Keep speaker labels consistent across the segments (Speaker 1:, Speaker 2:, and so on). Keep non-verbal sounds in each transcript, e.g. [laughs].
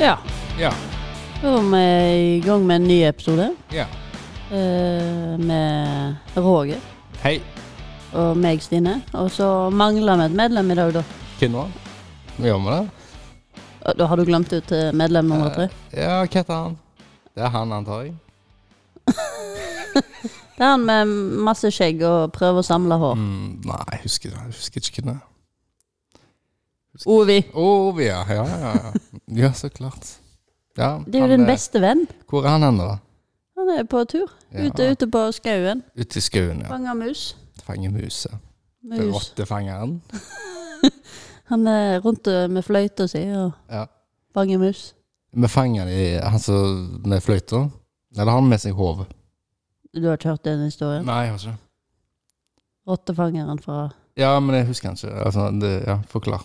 Speaker 1: Ja.
Speaker 2: Ja.
Speaker 1: Da var vi i gang med en ny episode
Speaker 2: ja.
Speaker 1: eh, med Roger
Speaker 2: Hei.
Speaker 1: og meg, Stine. Og så mangler vi et medlem i dag, da.
Speaker 2: Hvem nå? Gjør vi det?
Speaker 1: Og Da har du glemt ut eh, medlem nummer tre.
Speaker 2: Ja, hva heter han? Det er han, antar jeg.
Speaker 1: Det er han med masse skjegg og prøver å samle hår.
Speaker 2: Mm, nei, jeg husker, jeg husker ikke hvem det er.
Speaker 1: Ovi.
Speaker 2: Ove, ja. Ja, ja, ja. ja, så klart. Ja,
Speaker 1: Det er
Speaker 2: han,
Speaker 1: jo din
Speaker 2: eh,
Speaker 1: beste venn.
Speaker 2: Hvor er han hen, da?
Speaker 1: Han er på tur.
Speaker 2: Ja.
Speaker 1: Ute, ute på skauen.
Speaker 2: Ute i skauen, ja.
Speaker 1: Fanger mus.
Speaker 2: Fanger muset.
Speaker 1: Mus.
Speaker 2: Rottefangeren.
Speaker 1: Han er rundt eh, med fløyta si og
Speaker 2: Ja.
Speaker 1: fanger mus.
Speaker 2: Vi fanger de, han som med fløyta. Eller har han med seg hodet?
Speaker 1: Du har ikke hørt den historien?
Speaker 2: Nei, jeg har ikke.
Speaker 1: Rottefangeren fra
Speaker 2: Ja, men jeg husker han ikke. Altså, det, ja, forklar.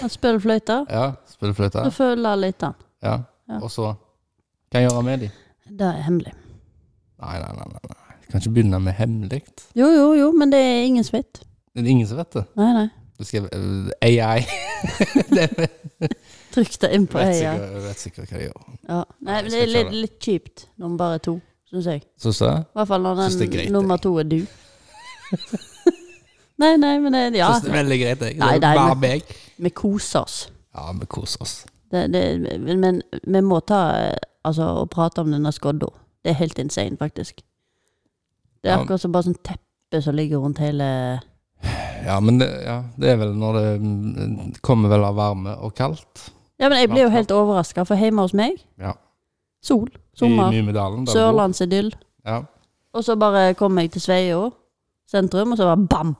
Speaker 1: Han spiller fløyta.
Speaker 2: Ja, spiller fløyte.
Speaker 1: Så følger litt han.
Speaker 2: Ja.
Speaker 1: Ja.
Speaker 2: Og så Hva gjør han med de?
Speaker 1: Det er hemmelig.
Speaker 2: Nei, nei, nei. nei, nei. Jeg Kan ikke begynne med hemmelig.
Speaker 1: Jo, jo, jo, men det er ingen som vet.
Speaker 2: Det er ingen som vet det.
Speaker 1: Nei, nei.
Speaker 2: Du skrev eh, AI. [laughs] det vet,
Speaker 1: Trykk det inn på
Speaker 2: vet,
Speaker 1: øya.
Speaker 2: sikkert, vet sikkert hva de gjør.
Speaker 1: Ja. Nei,
Speaker 2: Nei, jeg
Speaker 1: men det
Speaker 2: skal
Speaker 1: er
Speaker 2: ikke
Speaker 1: litt,
Speaker 2: ha
Speaker 1: litt kjipt når man bare er to, syns jeg.
Speaker 2: Syns du det?
Speaker 1: I hvert fall når
Speaker 2: Synes det
Speaker 1: den
Speaker 2: er greit,
Speaker 1: nummer
Speaker 2: jeg.
Speaker 1: to er du. [laughs] nei, nei, men det, ja,
Speaker 2: Syns det er veldig greit, jeg.
Speaker 1: Nei,
Speaker 2: Det
Speaker 1: det er-
Speaker 2: er bare meg.
Speaker 1: vi koser oss.
Speaker 2: Ja, vi koser oss.
Speaker 1: Det, det, men, men vi må ta eh, Altså, å prate om denne skodda. Det er helt insane, faktisk. Det er
Speaker 2: Ja.
Speaker 1: akkurat som bare sånn teppe som ligger rundt hele
Speaker 2: Ja, men det, ja, det er vel når det mm, kommer vel av varme og kaldt.
Speaker 1: Ja, men jeg blir jo helt overraska, for hjemme hos meg
Speaker 2: Ja.
Speaker 1: Sol. Sommer.
Speaker 2: I Nymedalen. der vi bor.
Speaker 1: Sørlandsidyll.
Speaker 2: Ja.
Speaker 1: Og så bare kom jeg til Sveio sentrum, og så bare bam!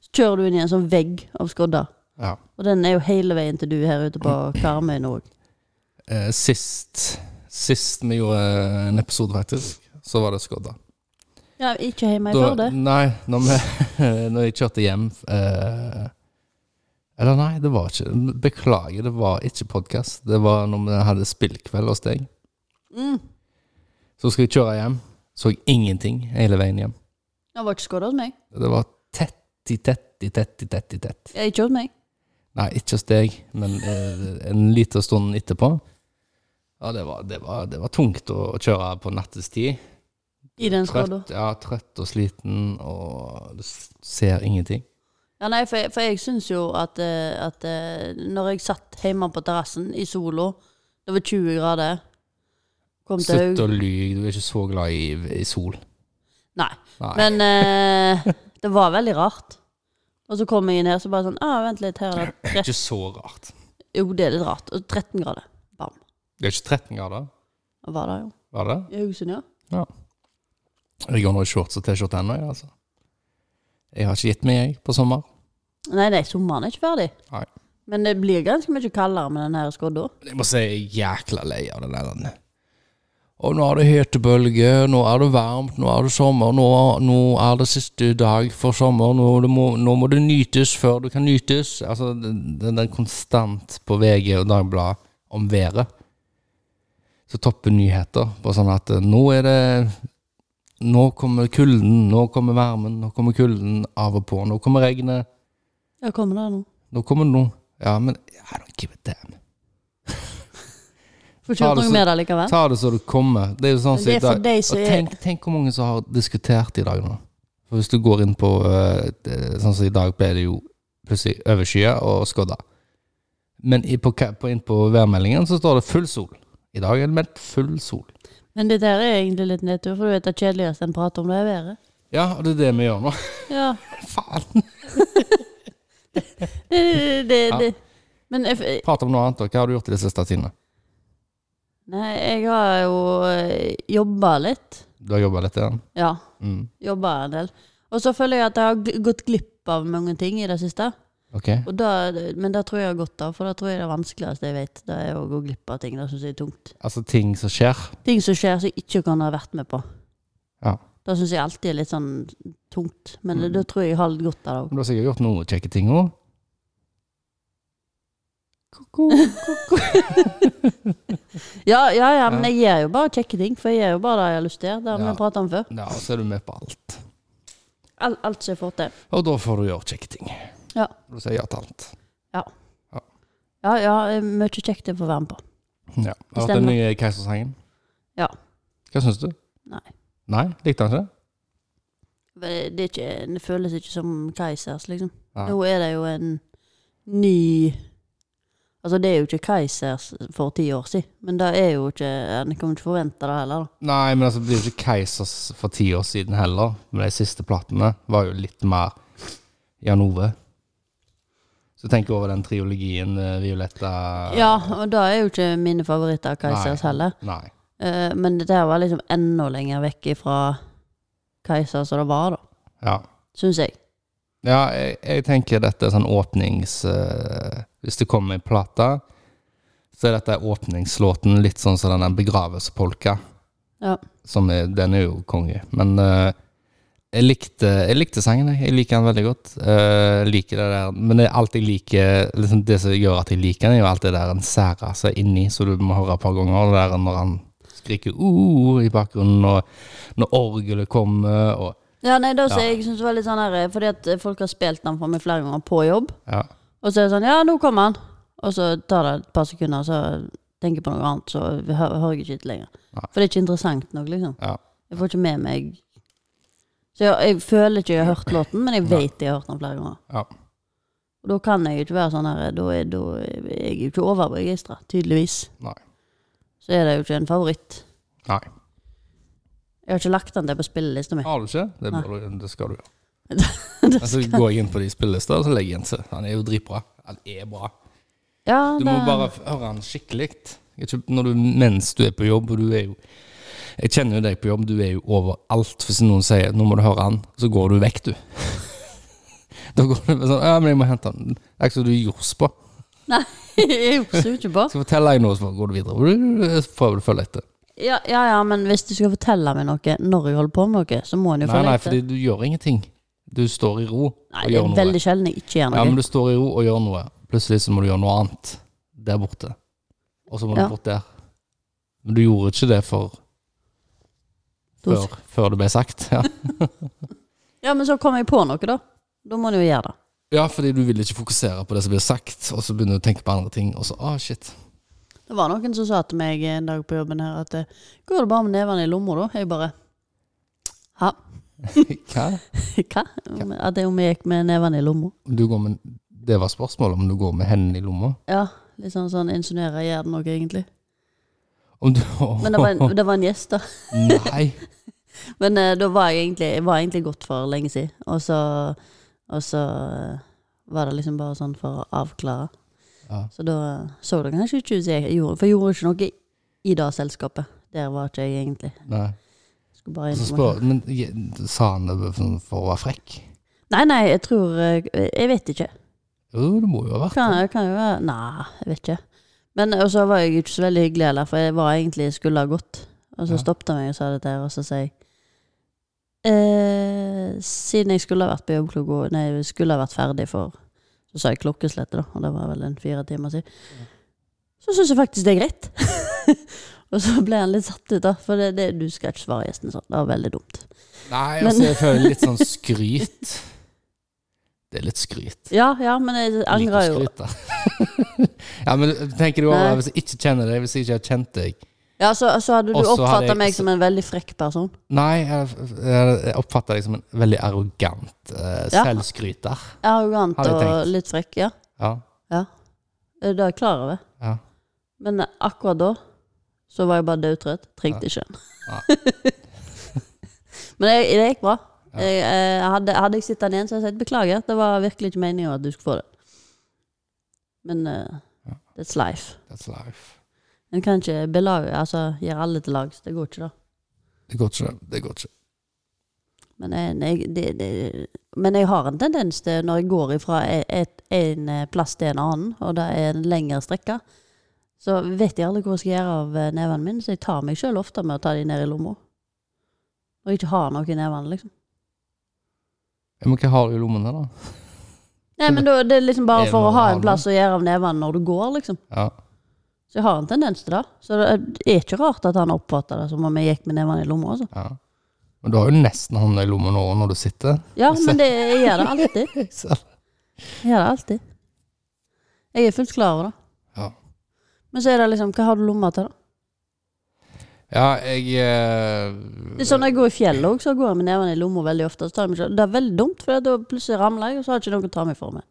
Speaker 1: Så kjører du inn i en sånn vegg av skodder.
Speaker 2: ja.
Speaker 1: Og den er jo hele veien til du her ute på Karmøy nå òg.
Speaker 2: Eh, sist, sist vi gjorde en episode, faktisk, så var det skodda.
Speaker 1: Ja, ikke hjemme i
Speaker 2: Da-
Speaker 1: Førde.
Speaker 2: Nei, når, vi, når jeg [laughs] kjørte hjem eh, Eller nei, det var ikke Beklager, det var ikke podkast. Det var når vi hadde spillkveld hos deg.
Speaker 1: Mm.
Speaker 2: Så skulle jeg kjøre hjem. Så jeg ingenting hele veien hjem.
Speaker 1: Det var ikke skodder hos meg.
Speaker 2: Det var tett i tett i tett i tett i tett.
Speaker 1: Jeg er ikke hos meg.
Speaker 2: Nei, ikke hos deg, men eh, en liten stund etterpå. Ja, det var, det var, det var tungt å å kjøre på nattestid.
Speaker 1: I den skodda.
Speaker 2: Trøtt, ja, trøtt og sliten, og du s- ser ingenting.
Speaker 1: Ja, nei, for jeg, for jeg syns jo at, eh, at eh, når jeg satt hjemme på terrassen i sola, det var 20 grader Kom til
Speaker 2: Slutt
Speaker 1: Haug.
Speaker 2: å lyve, du er ikke så glad i, i sol.
Speaker 1: Nei.
Speaker 2: Nei.
Speaker 1: Men
Speaker 2: [laughs]
Speaker 1: eh, det var veldig rart. Og så kom jeg inn her, så bare sånn ah, Vent litt, her er det
Speaker 2: det er ikke så rart.
Speaker 1: Jo, det er litt rart. Og 13 grader. Bam.
Speaker 2: Det er ikke 13 grader,
Speaker 1: Og var det jo.
Speaker 2: var det?
Speaker 1: I Haugesund, ja.
Speaker 2: Jeg går nå i shorts og T-skjorte ennå, jeg, altså. Jeg har ikke gitt meg, jeg, på sommer.
Speaker 1: Nei, nei, sommeren er ikke ferdig.
Speaker 2: Nei.
Speaker 1: Men det blir ganske mye kaldere med den her skodda.
Speaker 2: Jeg må si jeg er jækla lei av det der. Og nå er det hetebølge, nå er det varmt, nå er det sommer, nå, nå er det siste dag for sommer, nå, det må, nå må det nytes før det kan nytes. Altså, den den er konstant på VG og Dagbladet om været. Så topper nyheter på sånn at eh, nå er det Nå kommer kulden, nå kommer varmen, nå kommer kulden av og på, nå kommer regnet.
Speaker 1: Ja, kommer det nå?
Speaker 2: Nå kommer det noe. Ja, men I don't give a damn.
Speaker 1: Får
Speaker 2: Ta
Speaker 1: kjørt
Speaker 2: det
Speaker 1: noe
Speaker 2: så-
Speaker 1: med det likevel.
Speaker 2: Ta det så det kommer. Det er jo sånn som
Speaker 1: Det
Speaker 2: i
Speaker 1: er for
Speaker 2: dag.
Speaker 1: deg som
Speaker 2: Og
Speaker 1: er
Speaker 2: tenk, tenk hvor mange som har diskutert i dag nå. For hvis du går inn på øh, det- Sånn som i dag ble det jo plutselig overskyet og skodda. Men i, på, ka- på, inn på værmeldingen så står det full sol. I dag er det meldt full sol.
Speaker 1: Men dette her er egentlig litt nedtur, for du vet det kjedeligste en prater om, det er været.
Speaker 2: Ja, og det er det vi gjør nå. [laughs]
Speaker 1: Ja,
Speaker 2: Faen!
Speaker 1: det, det,
Speaker 2: Ja.
Speaker 1: det. Men jeg,
Speaker 2: Prat om noe annet. da. Hva har du gjort i det siste, Tine?
Speaker 1: nei, jeg har jo jobba litt.
Speaker 2: Du har jobba litt igjen?
Speaker 1: Ja,
Speaker 2: Mm.
Speaker 1: jobba en del. Og så føler jeg at jeg har gl- gått glipp av mange ting i det siste.
Speaker 2: Ok.
Speaker 1: Og da, men det tror jeg jeg har godt av, for det tror jeg det vanskeligste jeg vet. Det er å gå glipp av ting. Det syns jeg er tungt.
Speaker 2: Altså ting som skjer.
Speaker 1: Ting som skjer som jeg ikke kan ha vært med på.
Speaker 2: Ja. Mm.
Speaker 1: Det syns jeg alltid er litt sånn tungt. Men det, da tror jeg jeg har litt godt av det òg.
Speaker 2: Men Du har sikkert gjort noen kjekke ting òg. Ko-ko.
Speaker 1: Ja, ja, ja, men jeg gjør jo bare kjekke ting. For jeg gjør jo bare det jeg har lyst til. Det har vi
Speaker 2: Ja.
Speaker 1: pratet om før.
Speaker 2: Ja, så er du med på alt.
Speaker 1: Alt, alt som jeg får til.
Speaker 2: Og da får du gjøre kjekke ting.
Speaker 1: Ja.
Speaker 2: Du sier ja til alt.
Speaker 1: Ja, ja, eh, mye kjekt jeg får være med på.
Speaker 2: Mm. Ja. Har du hørt den
Speaker 1: Stemmer.
Speaker 2: nye Keisersangen?
Speaker 1: Ja.
Speaker 2: Hva syns du?
Speaker 1: Nei.
Speaker 2: Nei? Likte han ikke?
Speaker 1: Men Det, det, er ikke, det føles ikke som Keisers, liksom.
Speaker 2: Nei.
Speaker 1: Nå er det jo en ny Altså, det er jo ikke Keisers for ti år siden, men det er jo ikke En kan jo ikke forvente det heller, da.
Speaker 2: Nei, men altså, det blir jo ikke Keisers for ti år siden heller. Men de siste platene var jo litt mer Jan Ove. Så tenk over den triologien eh, Violetta
Speaker 1: Ja, og det er jo ikke mine favoritter av Keisers
Speaker 2: Nei.
Speaker 1: heller.
Speaker 2: Nei.
Speaker 1: Eh, men dette her var liksom enda lenger vekk ifra Keiser som det var, da.
Speaker 2: Ja.
Speaker 1: Syns jeg.
Speaker 2: Ja, jeg, jeg tenker dette er sånn åpnings... eh, hvis det kommer en plate, så er dette åpningslåten litt sånn som den der begravelsespolka.
Speaker 1: Ja.
Speaker 2: Som er, den er jo konge. Men eh, jeg, likte, jeg likte sangen, jeg. Jeg liker den veldig godt. Eh, jeg liker det der. Men det, er alt jeg liker, liksom det som gjør at jeg liker den, er jo alt det der en særer seg inni, så du må høre et par ganger. Det der når han skriker uh, i bakgrunnen, og når orgelet kommer, og
Speaker 1: Ja, nei, det som jeg syns var litt sånn her Fordi at folk har spilt den for meg flere ganger på jobb.
Speaker 2: ja.
Speaker 1: Og så er det sånn Ja, nå kommer han. Og så tar det et par sekunder, så tenker jeg på noe annet, så hø- hører jeg ikke etter lenger.
Speaker 2: Nei.
Speaker 1: For det er ikke interessant nok, liksom.
Speaker 2: ja.
Speaker 1: Jeg får ikke med meg Så jeg, jeg føler ikke jeg har hørt låten, men jeg vet jeg har hørt den flere ganger.
Speaker 2: Ja.
Speaker 1: Og da kan jeg jo ikke være sånn her Da er, da er jeg jo ikke overbegeistra, tydeligvis.
Speaker 2: Nei.
Speaker 1: Så er det jo ikke en favoritt.
Speaker 2: Nei.
Speaker 1: Jeg har ikke lagt den der på spillelista mi. [laughs]
Speaker 2: Har du ikke? Det, bør du, det skal du gjøre. Så går jeg inn på de spillelister, og så legger jeg inn seg. Han er jo dritbra. Han er bra.
Speaker 1: Ja,
Speaker 2: Du
Speaker 1: det,
Speaker 2: må bare f- høre han skikkelig. Ikke når du, mens du er på jobb, og du er jo Jeg kjenner jo deg på jobb, du er jo overalt. Hvis noen sier 'nå må du høre han', så går du vekk, du. [laughs] da går du bare sånn 'ja, men jeg må hente han'. Det er ikke så du jors på.
Speaker 1: [laughs] Nei, jeg forstår ikke på.
Speaker 2: Skal jeg fortelle deg noe, så bare går du videre. Så prøver du å følge etter.
Speaker 1: Ja, ja, ja, men hvis du skal fortelle meg noe når jeg holder på med noe, så må en jo få
Speaker 2: Nei, nei,
Speaker 1: lete.
Speaker 2: fordi du gjør ingenting. Du står i ro
Speaker 1: Nei,
Speaker 2: og
Speaker 1: det
Speaker 2: gjør
Speaker 1: er
Speaker 2: noe.
Speaker 1: veldig sjelden jeg ikke gjør noe.
Speaker 2: Ja, men du står i ro og gjør noe. Plutselig så må du gjøre noe annet der borte. Og så må
Speaker 1: Ja.
Speaker 2: du bort der. Men du gjorde ikke det for
Speaker 1: To
Speaker 2: før, før det ble sagt. [laughs] Ja.
Speaker 1: Ja, men så kommer jeg på noe, da. Da må en jo gjøre det.
Speaker 2: ja, fordi du vil ikke fokusere på det som blir sagt, og så begynner du å tenke på andre ting, og så ah, shit. [laughs]
Speaker 1: Det var noen som sa til meg en dag på jobben her at eh, Går det bare med nevene i lomma, da? Jeg bare Hæ?
Speaker 2: Hva?
Speaker 1: [laughs] Hva? Om- At jeg om jeg gikk med nevene i lomma?
Speaker 2: Du går med, det var spørsmålet om du går med hendene i lomma.
Speaker 1: Ja. Litt sånn sånn insinuerer jeg gjør det noe, egentlig.
Speaker 2: Om du [laughs]
Speaker 1: Men det var en, det var en gjest, da.
Speaker 2: Nei.
Speaker 1: Men eh, da var jeg egentlig, jeg var egentlig godt for lenge siden. Og så, og så eh, var det liksom bare sånn for å avklare.
Speaker 2: Ja.
Speaker 1: Så da så det kanskje ikke ut som jeg gjorde, for jeg gjorde ikke noe i- i det selskapet. Der var ikke jeg egentlig. [laughs]
Speaker 2: Nei.
Speaker 1: Skulle bare
Speaker 2: Og
Speaker 1: inn på meg.
Speaker 2: Så spør, men je- sa han det for for å være frekk?
Speaker 1: Nei, nei, jeg tror eh, Jeg vet ikke.
Speaker 2: Jo, det må jo ha vært
Speaker 1: Kan, kan jo være Nei, jeg vet ikke. Men og så var jeg ikke så veldig hyggelig heller, for jeg var egentlig skulle ha gått. Og
Speaker 2: Ja.
Speaker 1: så stoppet han meg og sa dette her, og så sa jeg eh, Siden jeg skulle ha vært på jobb klokka Nei, jeg skulle ha vært ferdig for Så sa jeg klokkeslettet, da, og det var vel en fire timer siden. Så syns jeg faktisk det er greit. [laughs] og så ble han litt satt ut, da. For det, det, du skal ikke svare gjesten sånn. Det var veldig dumt.
Speaker 2: Nei,
Speaker 1: Men-
Speaker 2: altså, jeg føler litt sånn skryt. Det er litt skryt.
Speaker 1: Ja, ja, men jeg angrer jo.
Speaker 2: Liker skryt, da. [laughs] ja, men tenker du over
Speaker 1: Nei.
Speaker 2: det hvis jeg ikke kjenner deg, hvis jeg ikke har kjent deg?
Speaker 1: Ja, så, så hadde du
Speaker 2: Og så hadde
Speaker 1: oppfatta
Speaker 2: jeg-
Speaker 1: meg som en veldig frekk person.
Speaker 2: Nei, jeg, jeg jeg oppfatter deg som en veldig arrogant eh,
Speaker 1: Ja.
Speaker 2: selvskryter.
Speaker 1: Arrogant
Speaker 2: Hadde jeg
Speaker 1: og
Speaker 2: tenkt.
Speaker 1: litt frekk, ja.
Speaker 2: Ja.
Speaker 1: Ja. Eh, Det er jeg klar over.
Speaker 2: ja.
Speaker 1: Men eh, akkurat da så var jeg bare dødtrøtt. Trengte ikke en. [laughs] Men det, det gikk bra. Jeg, eh, hadde, hadde jeg sett den igjen, så hadde jeg sagt beklager. Det var virkelig ikke meningen at du skulle få det. Men eh, that's life.
Speaker 2: That's life.
Speaker 1: En kan ikke belage, altså gjøre alle til lags. Det går ikke, da.
Speaker 2: Det går ikke, det. det går ikke.
Speaker 1: Men jeg, jeg, det, det, men jeg har en tendens til, når jeg går fra en eh, plass til en annen, og det er en lengre strekke, så vet jeg aldri hva jeg skal gjøre av eh, nevene mine, så jeg tar meg sjøl ofte med å ta de ned i lomma. Og ikke har noe i nevene, liksom.
Speaker 2: Ja, Men hva har du i lommene, da?
Speaker 1: Nei, men da, det er liksom
Speaker 2: Er
Speaker 1: bare
Speaker 2: det
Speaker 1: for å
Speaker 2: noe
Speaker 1: ha en
Speaker 2: annet?
Speaker 1: plass å gjøre av nevene når du går, liksom.
Speaker 2: Ja.
Speaker 1: Så jeg har en tendens til det. Så det er ikke rart at han oppfatter det som om jeg gikk med nevene i lomma, altså.
Speaker 2: ja. Men du har jo nesten hånda i lommen nå når du
Speaker 1: [laughs]
Speaker 2: sitter. [laughs]
Speaker 1: Ja, men det, jeg gjør det alltid.
Speaker 2: Så-
Speaker 1: Jeg gjør det alltid. Jeg er fullt klar over det.
Speaker 2: Ja.
Speaker 1: Men så er det liksom, hva har du lomma til, da?
Speaker 2: Ja, jeg eh,
Speaker 1: Det er sånn Når jeg går i fjellet òg, så går jeg med nevene i lomma veldig ofte. Så tar jeg meg selv. Det er veldig dumt, for da plutselig ramler jeg, og så har jeg ikke noen å ta meg for meg.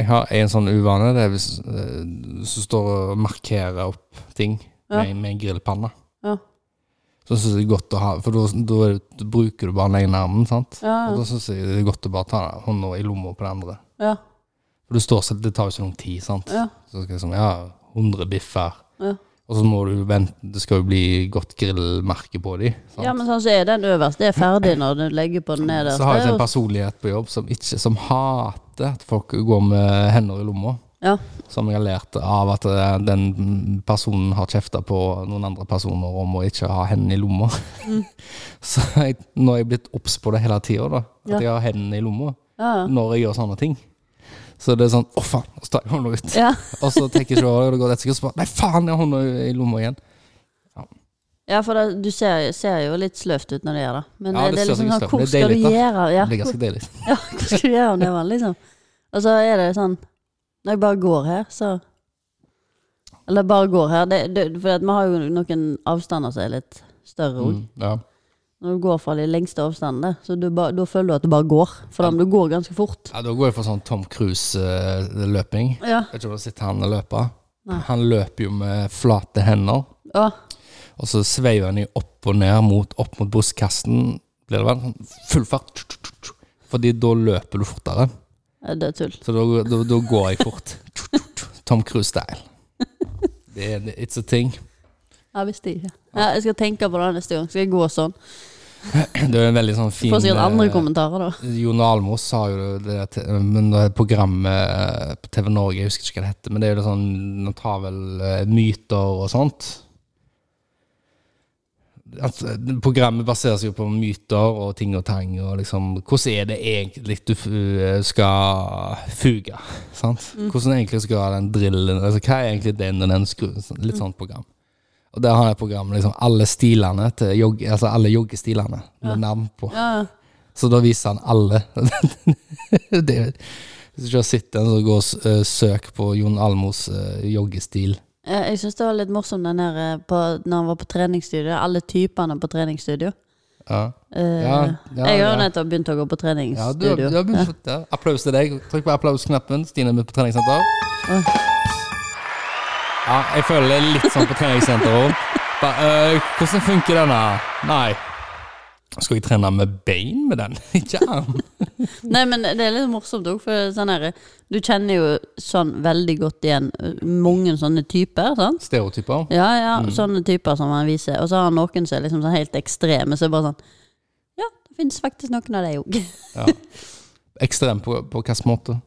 Speaker 2: Jeg har en sånn uvane det er hvis, eh, som står og markerer opp ting
Speaker 1: Ja.
Speaker 2: med, med en grillpanne.
Speaker 1: Ja.
Speaker 2: Så syns jeg det er godt å ha For da- da er det- da bruker du bare den ene armen, sant?
Speaker 1: Ja,
Speaker 2: Og
Speaker 1: ja.
Speaker 2: da syns jeg det er godt å bare ta hånda i lomma på den andre.
Speaker 1: ja,
Speaker 2: For det står så Det tar jo så lang tid, sant?
Speaker 1: ja.
Speaker 2: Så skal jeg sånn Ja, 100 biffer.
Speaker 1: Ja.
Speaker 2: Og så må du vente Det skal jo bli godt grillmerke på de. Sant?
Speaker 1: ja, men sånn så er den øverst. Det er ferdig når du legger på den nederste.
Speaker 2: så har jeg en
Speaker 1: og-
Speaker 2: personlighet på jobb som, ikke, som hater at folk går med hender i lomma.
Speaker 1: Ja,
Speaker 2: Som jeg har lært av at eh, den personen har kjefta på noen andre personer om å ikke ha hendene i lomma.
Speaker 1: Mm.
Speaker 2: [laughs] så jeg, nå er jeg blitt obs på det hele tida, at
Speaker 1: Ja.
Speaker 2: jeg har hendene i lomma
Speaker 1: ja, ja.
Speaker 2: når jeg gjør sånne ting. Så det er sånn Å, faen! Så tar jeg hånda ut.
Speaker 1: ja.
Speaker 2: Og så tenker jeg ikke over det, og det går et sekund, så bare Nei, faen, jeg har hånda i lomma igjen.
Speaker 1: Ja, for det, du ser, ser jo litt sløvt ut når du gjør det. Men
Speaker 2: Ja,
Speaker 1: eh,
Speaker 2: det
Speaker 1: det, er
Speaker 2: ser
Speaker 1: liksom
Speaker 2: sikkert
Speaker 1: sånn, hvor
Speaker 2: sløvt ut, men det
Speaker 1: skal du
Speaker 2: er deilig, da.
Speaker 1: gjøre av- ja,
Speaker 2: Det blir ganske deilig.
Speaker 1: ja, hvor skal du gjøre av nevene, liksom? Og så er det sånn Når jeg bare går her, så Eller bare går her det, det, For at vi har jo noen avstander som er litt større òg.
Speaker 2: Mm, ja.
Speaker 1: Når du går fra de lengste avstandene, så du ba, da føler du at du bare går. For da må du gå ganske fort.
Speaker 2: ja, da går jeg for sånn Tom Cruise-løping.
Speaker 1: Ja.
Speaker 2: Vet ikke om du sitter han og løper.
Speaker 1: Nei.
Speaker 2: Han løper jo med flate hender,
Speaker 1: ja.
Speaker 2: og så sveiver han jo opp og ned mot, opp mot brystkassen. Blir det vel sånn full fart. Fordi da løper du fortere.
Speaker 1: Ja, Det er tull.
Speaker 2: Så da, da, da går jeg fort. Tom Cruise-style. Det er it's a thing.
Speaker 1: Jeg visste ikke. Ja, jeg skal tenke på det neste gang. Skal jeg gå sånn?
Speaker 2: Det er en veldig sånn fin
Speaker 1: Får sikkert andre
Speaker 2: eh,
Speaker 1: kommentarer, da.
Speaker 2: Jon Almaas sa jo det til- men det er programmet eh, på TV Norge, jeg husker ikke hva det heter, men det er jo litt sånn Han tar vel eh, myter og sånt. At eh, programmet baserer seg jo på myter og ting og tang, og liksom Hvordan er det egentlig du f- eh, skal fuge? Sant?
Speaker 1: Mm.
Speaker 2: Hvordan egentlig skal den drillen altså, Hva er egentlig den og den skruen? Sånn- Litt sånt program. Og der har jeg programmet liksom alle stilene til jogge, altså alle joggestilene med navn på.
Speaker 1: Ja, ja.
Speaker 2: Så da viser han alle. [laughs] det, hvis du ikke har sett den, så gå og s- eh, søk på Jon Almos eh, joggestil.
Speaker 1: Ja, Jeg syns det var litt morsomt den her eh, på, når han var på treningsstudio. Alle typene på treningsstudio.
Speaker 2: Ja,
Speaker 1: Eh,
Speaker 2: ja, ja.
Speaker 1: jeg har jo
Speaker 2: ja.
Speaker 1: nettopp begynt å gå på
Speaker 2: ja du, har-
Speaker 1: treningsstudio.
Speaker 2: du har begynt fått det. Applaus til deg. Trykk på applausknappen. Stine er med på treningssenter. Ja, jeg føler det er litt sånn på treningssenter òg. hvordan funker denne? Nei. Skal jeg trene med bein med den? [laughs] Ikke arm.
Speaker 1: Nei, men det er litt morsomt òg, for sånn her, du kjenner jo sånn veldig godt igjen eh, mange sånne typer. sant?
Speaker 2: Stereotyper.
Speaker 1: Ja, ja, sånne typer som han viser. Og så har han noen som er liksom sånn helt ekstreme, så er det bare sånn Ja, det finnes faktisk noen av dem òg.
Speaker 2: Ja. Ekstrem på, på hvilken måte?
Speaker 1: [laughs]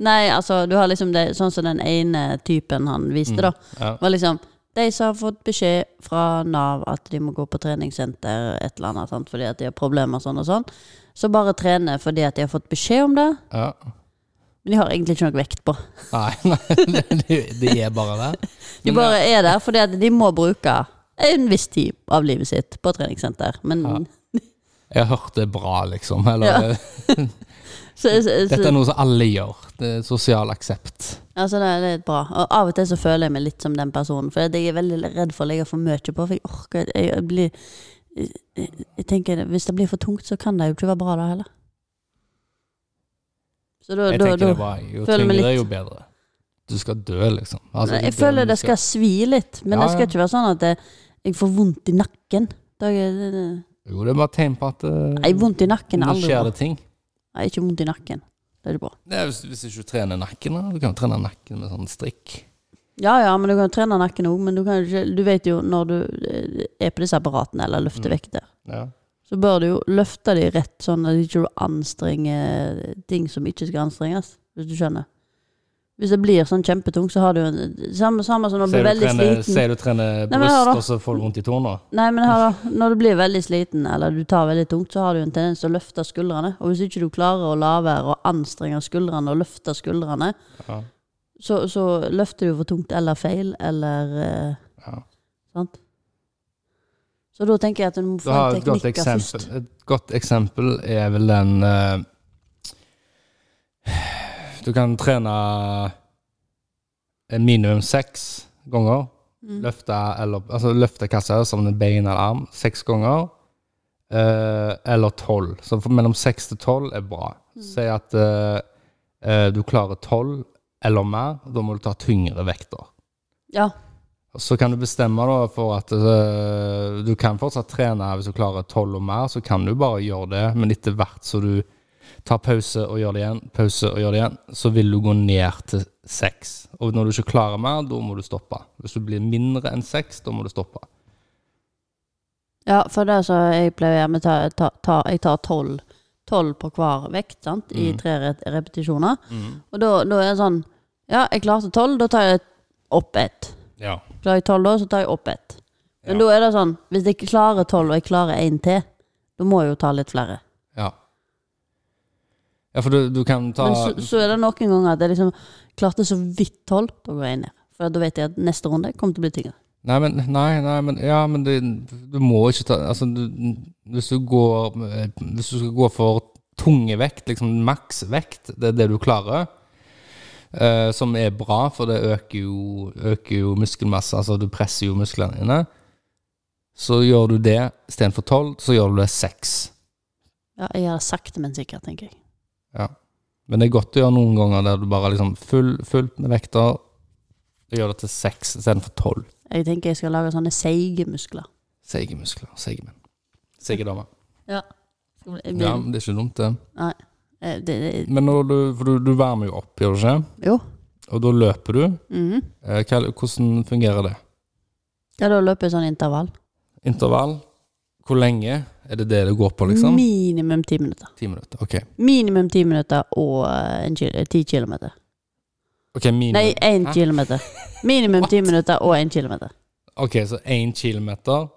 Speaker 1: Nei, altså, du har liksom det sånn som den ene typen han viste, da.
Speaker 2: Ja.
Speaker 1: var liksom de som har fått beskjed fra Nav at de må gå på treningssenter et eller annet, sant, fordi at de har problemer sånn og sånn, så bare trene fordi at de har fått beskjed om det,
Speaker 2: Ja.
Speaker 1: men de har egentlig ikke noe vekt på.
Speaker 2: Nei, [laughs] nei det, det er bare det.
Speaker 1: De bare er der fordi at de må bruke en viss tid av livet sitt på treningssenter. Men
Speaker 2: Jeg har hørt det er bra, liksom.
Speaker 1: [laughs]
Speaker 2: Eller,
Speaker 1: så, så,
Speaker 2: Dette
Speaker 1: så,
Speaker 2: er noe som alle gjør. Det er sosial aksept.
Speaker 1: altså, det er litt bra. Og av og til så føler jeg meg litt som den personen, for jeg er veldig redd for å legge for mye på, for jeg orker jeg, jeg blir jeg, jeg, jeg tenker, Hvis det blir for tungt, så kan det jo ikke være bra da heller. Så da,
Speaker 2: Jeg
Speaker 1: da,
Speaker 2: tenker
Speaker 1: da,
Speaker 2: det er bra. Jo
Speaker 1: føler meg
Speaker 2: tyngre,
Speaker 1: litt-
Speaker 2: jo bedre. Du skal dø, liksom. Altså,
Speaker 1: Nei,
Speaker 2: du
Speaker 1: jeg
Speaker 2: dør,
Speaker 1: føler
Speaker 2: du
Speaker 1: det skal svi litt, men
Speaker 2: Ja,
Speaker 1: det skal
Speaker 2: ja.
Speaker 1: ikke være sånn at jeg, jeg får vondt i nakken. Da er det- det-
Speaker 2: Jo, det er bare tegn på at eh,
Speaker 1: Nei, vondt i nakken er
Speaker 2: nå
Speaker 1: aldri
Speaker 2: skjer
Speaker 1: bra.
Speaker 2: det ting.
Speaker 1: Nei, ikke vondt i nakken. Det er det bra.
Speaker 2: Det er hvis, hvis ikke du trener nakken, da. Du kan jo trene nakken med sånn strikk.
Speaker 1: Ja ja, men du kan trene nakken òg, men du, kan ikke, du vet jo når du eh, er på disse apparatene eller løfter vekter,
Speaker 2: Ja.
Speaker 1: så bør du jo løfte de rett, sånn at du ikke anstrenger eh, ting som ikke skal anstrenges, hvis du skjønner. Hvis det blir sånn kjempetungt, så har du en Samme, samme som når du
Speaker 2: Sier
Speaker 1: blir
Speaker 2: du,
Speaker 1: veldig
Speaker 2: trener-
Speaker 1: sliten.
Speaker 2: sier du trener
Speaker 1: Nei, men
Speaker 2: bryst,
Speaker 1: hør da.
Speaker 2: og så får du vondt i tårna?
Speaker 1: Nei, men her da, når du blir veldig sliten, eller du tar veldig tungt, så har du en tendens til å løfte skuldrene. Og hvis ikke du klarer å la være å anstrenge skuldrene og løfte skuldrene,
Speaker 2: Ja.
Speaker 1: så, så løfter du for tungt eller feil, eller eh,
Speaker 2: Ja.
Speaker 1: Sant? Så da tenker jeg at du må
Speaker 2: Du
Speaker 1: få
Speaker 2: har
Speaker 1: en
Speaker 2: et godt
Speaker 1: teknikk
Speaker 2: eksempel.
Speaker 1: først.
Speaker 2: Et godt eksempel er vel den eh, Du kan trene eh, minimum seks ganger.
Speaker 1: Mm.
Speaker 2: Løfte, eller, altså løfte kassa som en bein eller arm seks ganger. eh, eller tolv. Så for- mellom seks til tolv er bra.
Speaker 1: Mm.
Speaker 2: Si at eh, eh, du klarer tolv eller mer, da må du ta tyngre vekter.
Speaker 1: Ja.
Speaker 2: Så kan du bestemme da for at eh, du kan fortsatt trene hvis du klarer tolv og mer, så kan du bare gjøre det, men etter hvert så du tar pause og gjør det igjen, pause og gjør det igjen, så vil du gå ned til seks. Og når du ikke klarer mer, da må du stoppe. Hvis du blir mindre enn seks, da må du stoppe.
Speaker 1: ja, for det er så jeg pleier å gjøre, ta, ta, jeg tar tolv. Tolv på hver vekt, sant,
Speaker 2: Mm.
Speaker 1: i tre re- repetisjoner. Og da, da er det sånn Ja, jeg klarte tolv, da tar jeg opp ett.
Speaker 2: Ja.
Speaker 1: Da har jeg tolv, da, så tar jeg opp ett. Men
Speaker 2: Ja.
Speaker 1: da er det sånn, hvis jeg ikke klarer tolv, og jeg klarer én til, da må jeg jo ta litt flere.
Speaker 2: Ja, ja for du, du kan ta
Speaker 1: Men så, så er det noen ganger at jeg liksom klarte så vidt tolv, da går jeg ned. For da vet jeg at neste runde kommer til å bli tyngre.
Speaker 2: Nei, men, nei, nei, men, ja, men det, du må ikke ta altså, du, hvis, du går, hvis du skal gå for tunge vekt, liksom maksvekt, det er det du klarer, eh, som er bra, for det øker jo, øker jo muskelmasse, altså du presser jo musklene dine, så gjør du det, i stedet for 12, så gjør du det 6.
Speaker 1: Ja, jeg gjør det sakte, men sikkert, tenker jeg.
Speaker 2: Men det er godt å gjøre noen ganger der du bare liksom full, fullt med vekter, gjør det til 6 i stedet for 12.
Speaker 1: Jeg tenker jeg skal lage sånne seige muskler.
Speaker 2: Seige muskler, seige menn. Seige damer.
Speaker 1: Ja. Jeg blir,
Speaker 2: Ja, men det er ikke dumt det.
Speaker 1: Nei. Eh, Det, det,
Speaker 2: Men når du, for du, du varmer jo opp, gjør du ikke?
Speaker 1: jo.
Speaker 2: Og da løper du.
Speaker 1: Mhm.
Speaker 2: Eh, hva, hvordan fungerer det?
Speaker 1: Ja, da løper jeg sånn intervall.
Speaker 2: Intervall? Hvor lenge er det det det går på, liksom?
Speaker 1: Minimum ti minutter.
Speaker 2: Ti minutter. Ok.
Speaker 1: Minimum ti minutter og eh, en kil ti kilometer.
Speaker 2: Ok, minimum.
Speaker 1: Nei, én
Speaker 2: Hæ?
Speaker 1: kilometer. Minimum ti minutter og én kilometer.
Speaker 2: Ok, så én kilometer.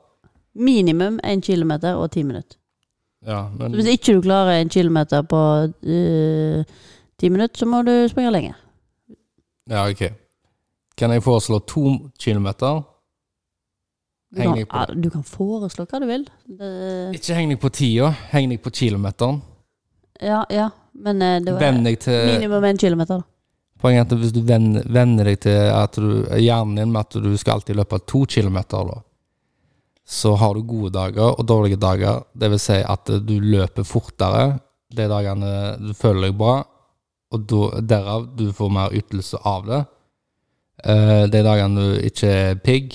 Speaker 1: Minimum én kilometer og ti minutter.
Speaker 2: Ja, men
Speaker 1: Så hvis ikke du klarer en kilometer på eh, ti minutter, så må du springe lenger.
Speaker 2: Ja, ok. Kan jeg foreslå to kilometer?
Speaker 1: Du
Speaker 2: Henger
Speaker 1: kan,
Speaker 2: jeg på
Speaker 1: ja, du kan foreslå hva du vil. Eh, Det,
Speaker 2: Ikke heng deg på tida, heng deg på kilometeren.
Speaker 1: ja, ja. Men eh, det var
Speaker 2: Venn deg til
Speaker 1: minimum én kilometer, da.
Speaker 2: Poenget er at hvis du venner, venner deg til at du, hjernen din med at du skal alltid løpe to kilometer, da, så har du gode dager og dårlige dager. Det vil si at du løper fortere de dagene du føler deg bra, og da- derav du får mer ytelse av det. Eh, De dagene du ikke er pigg,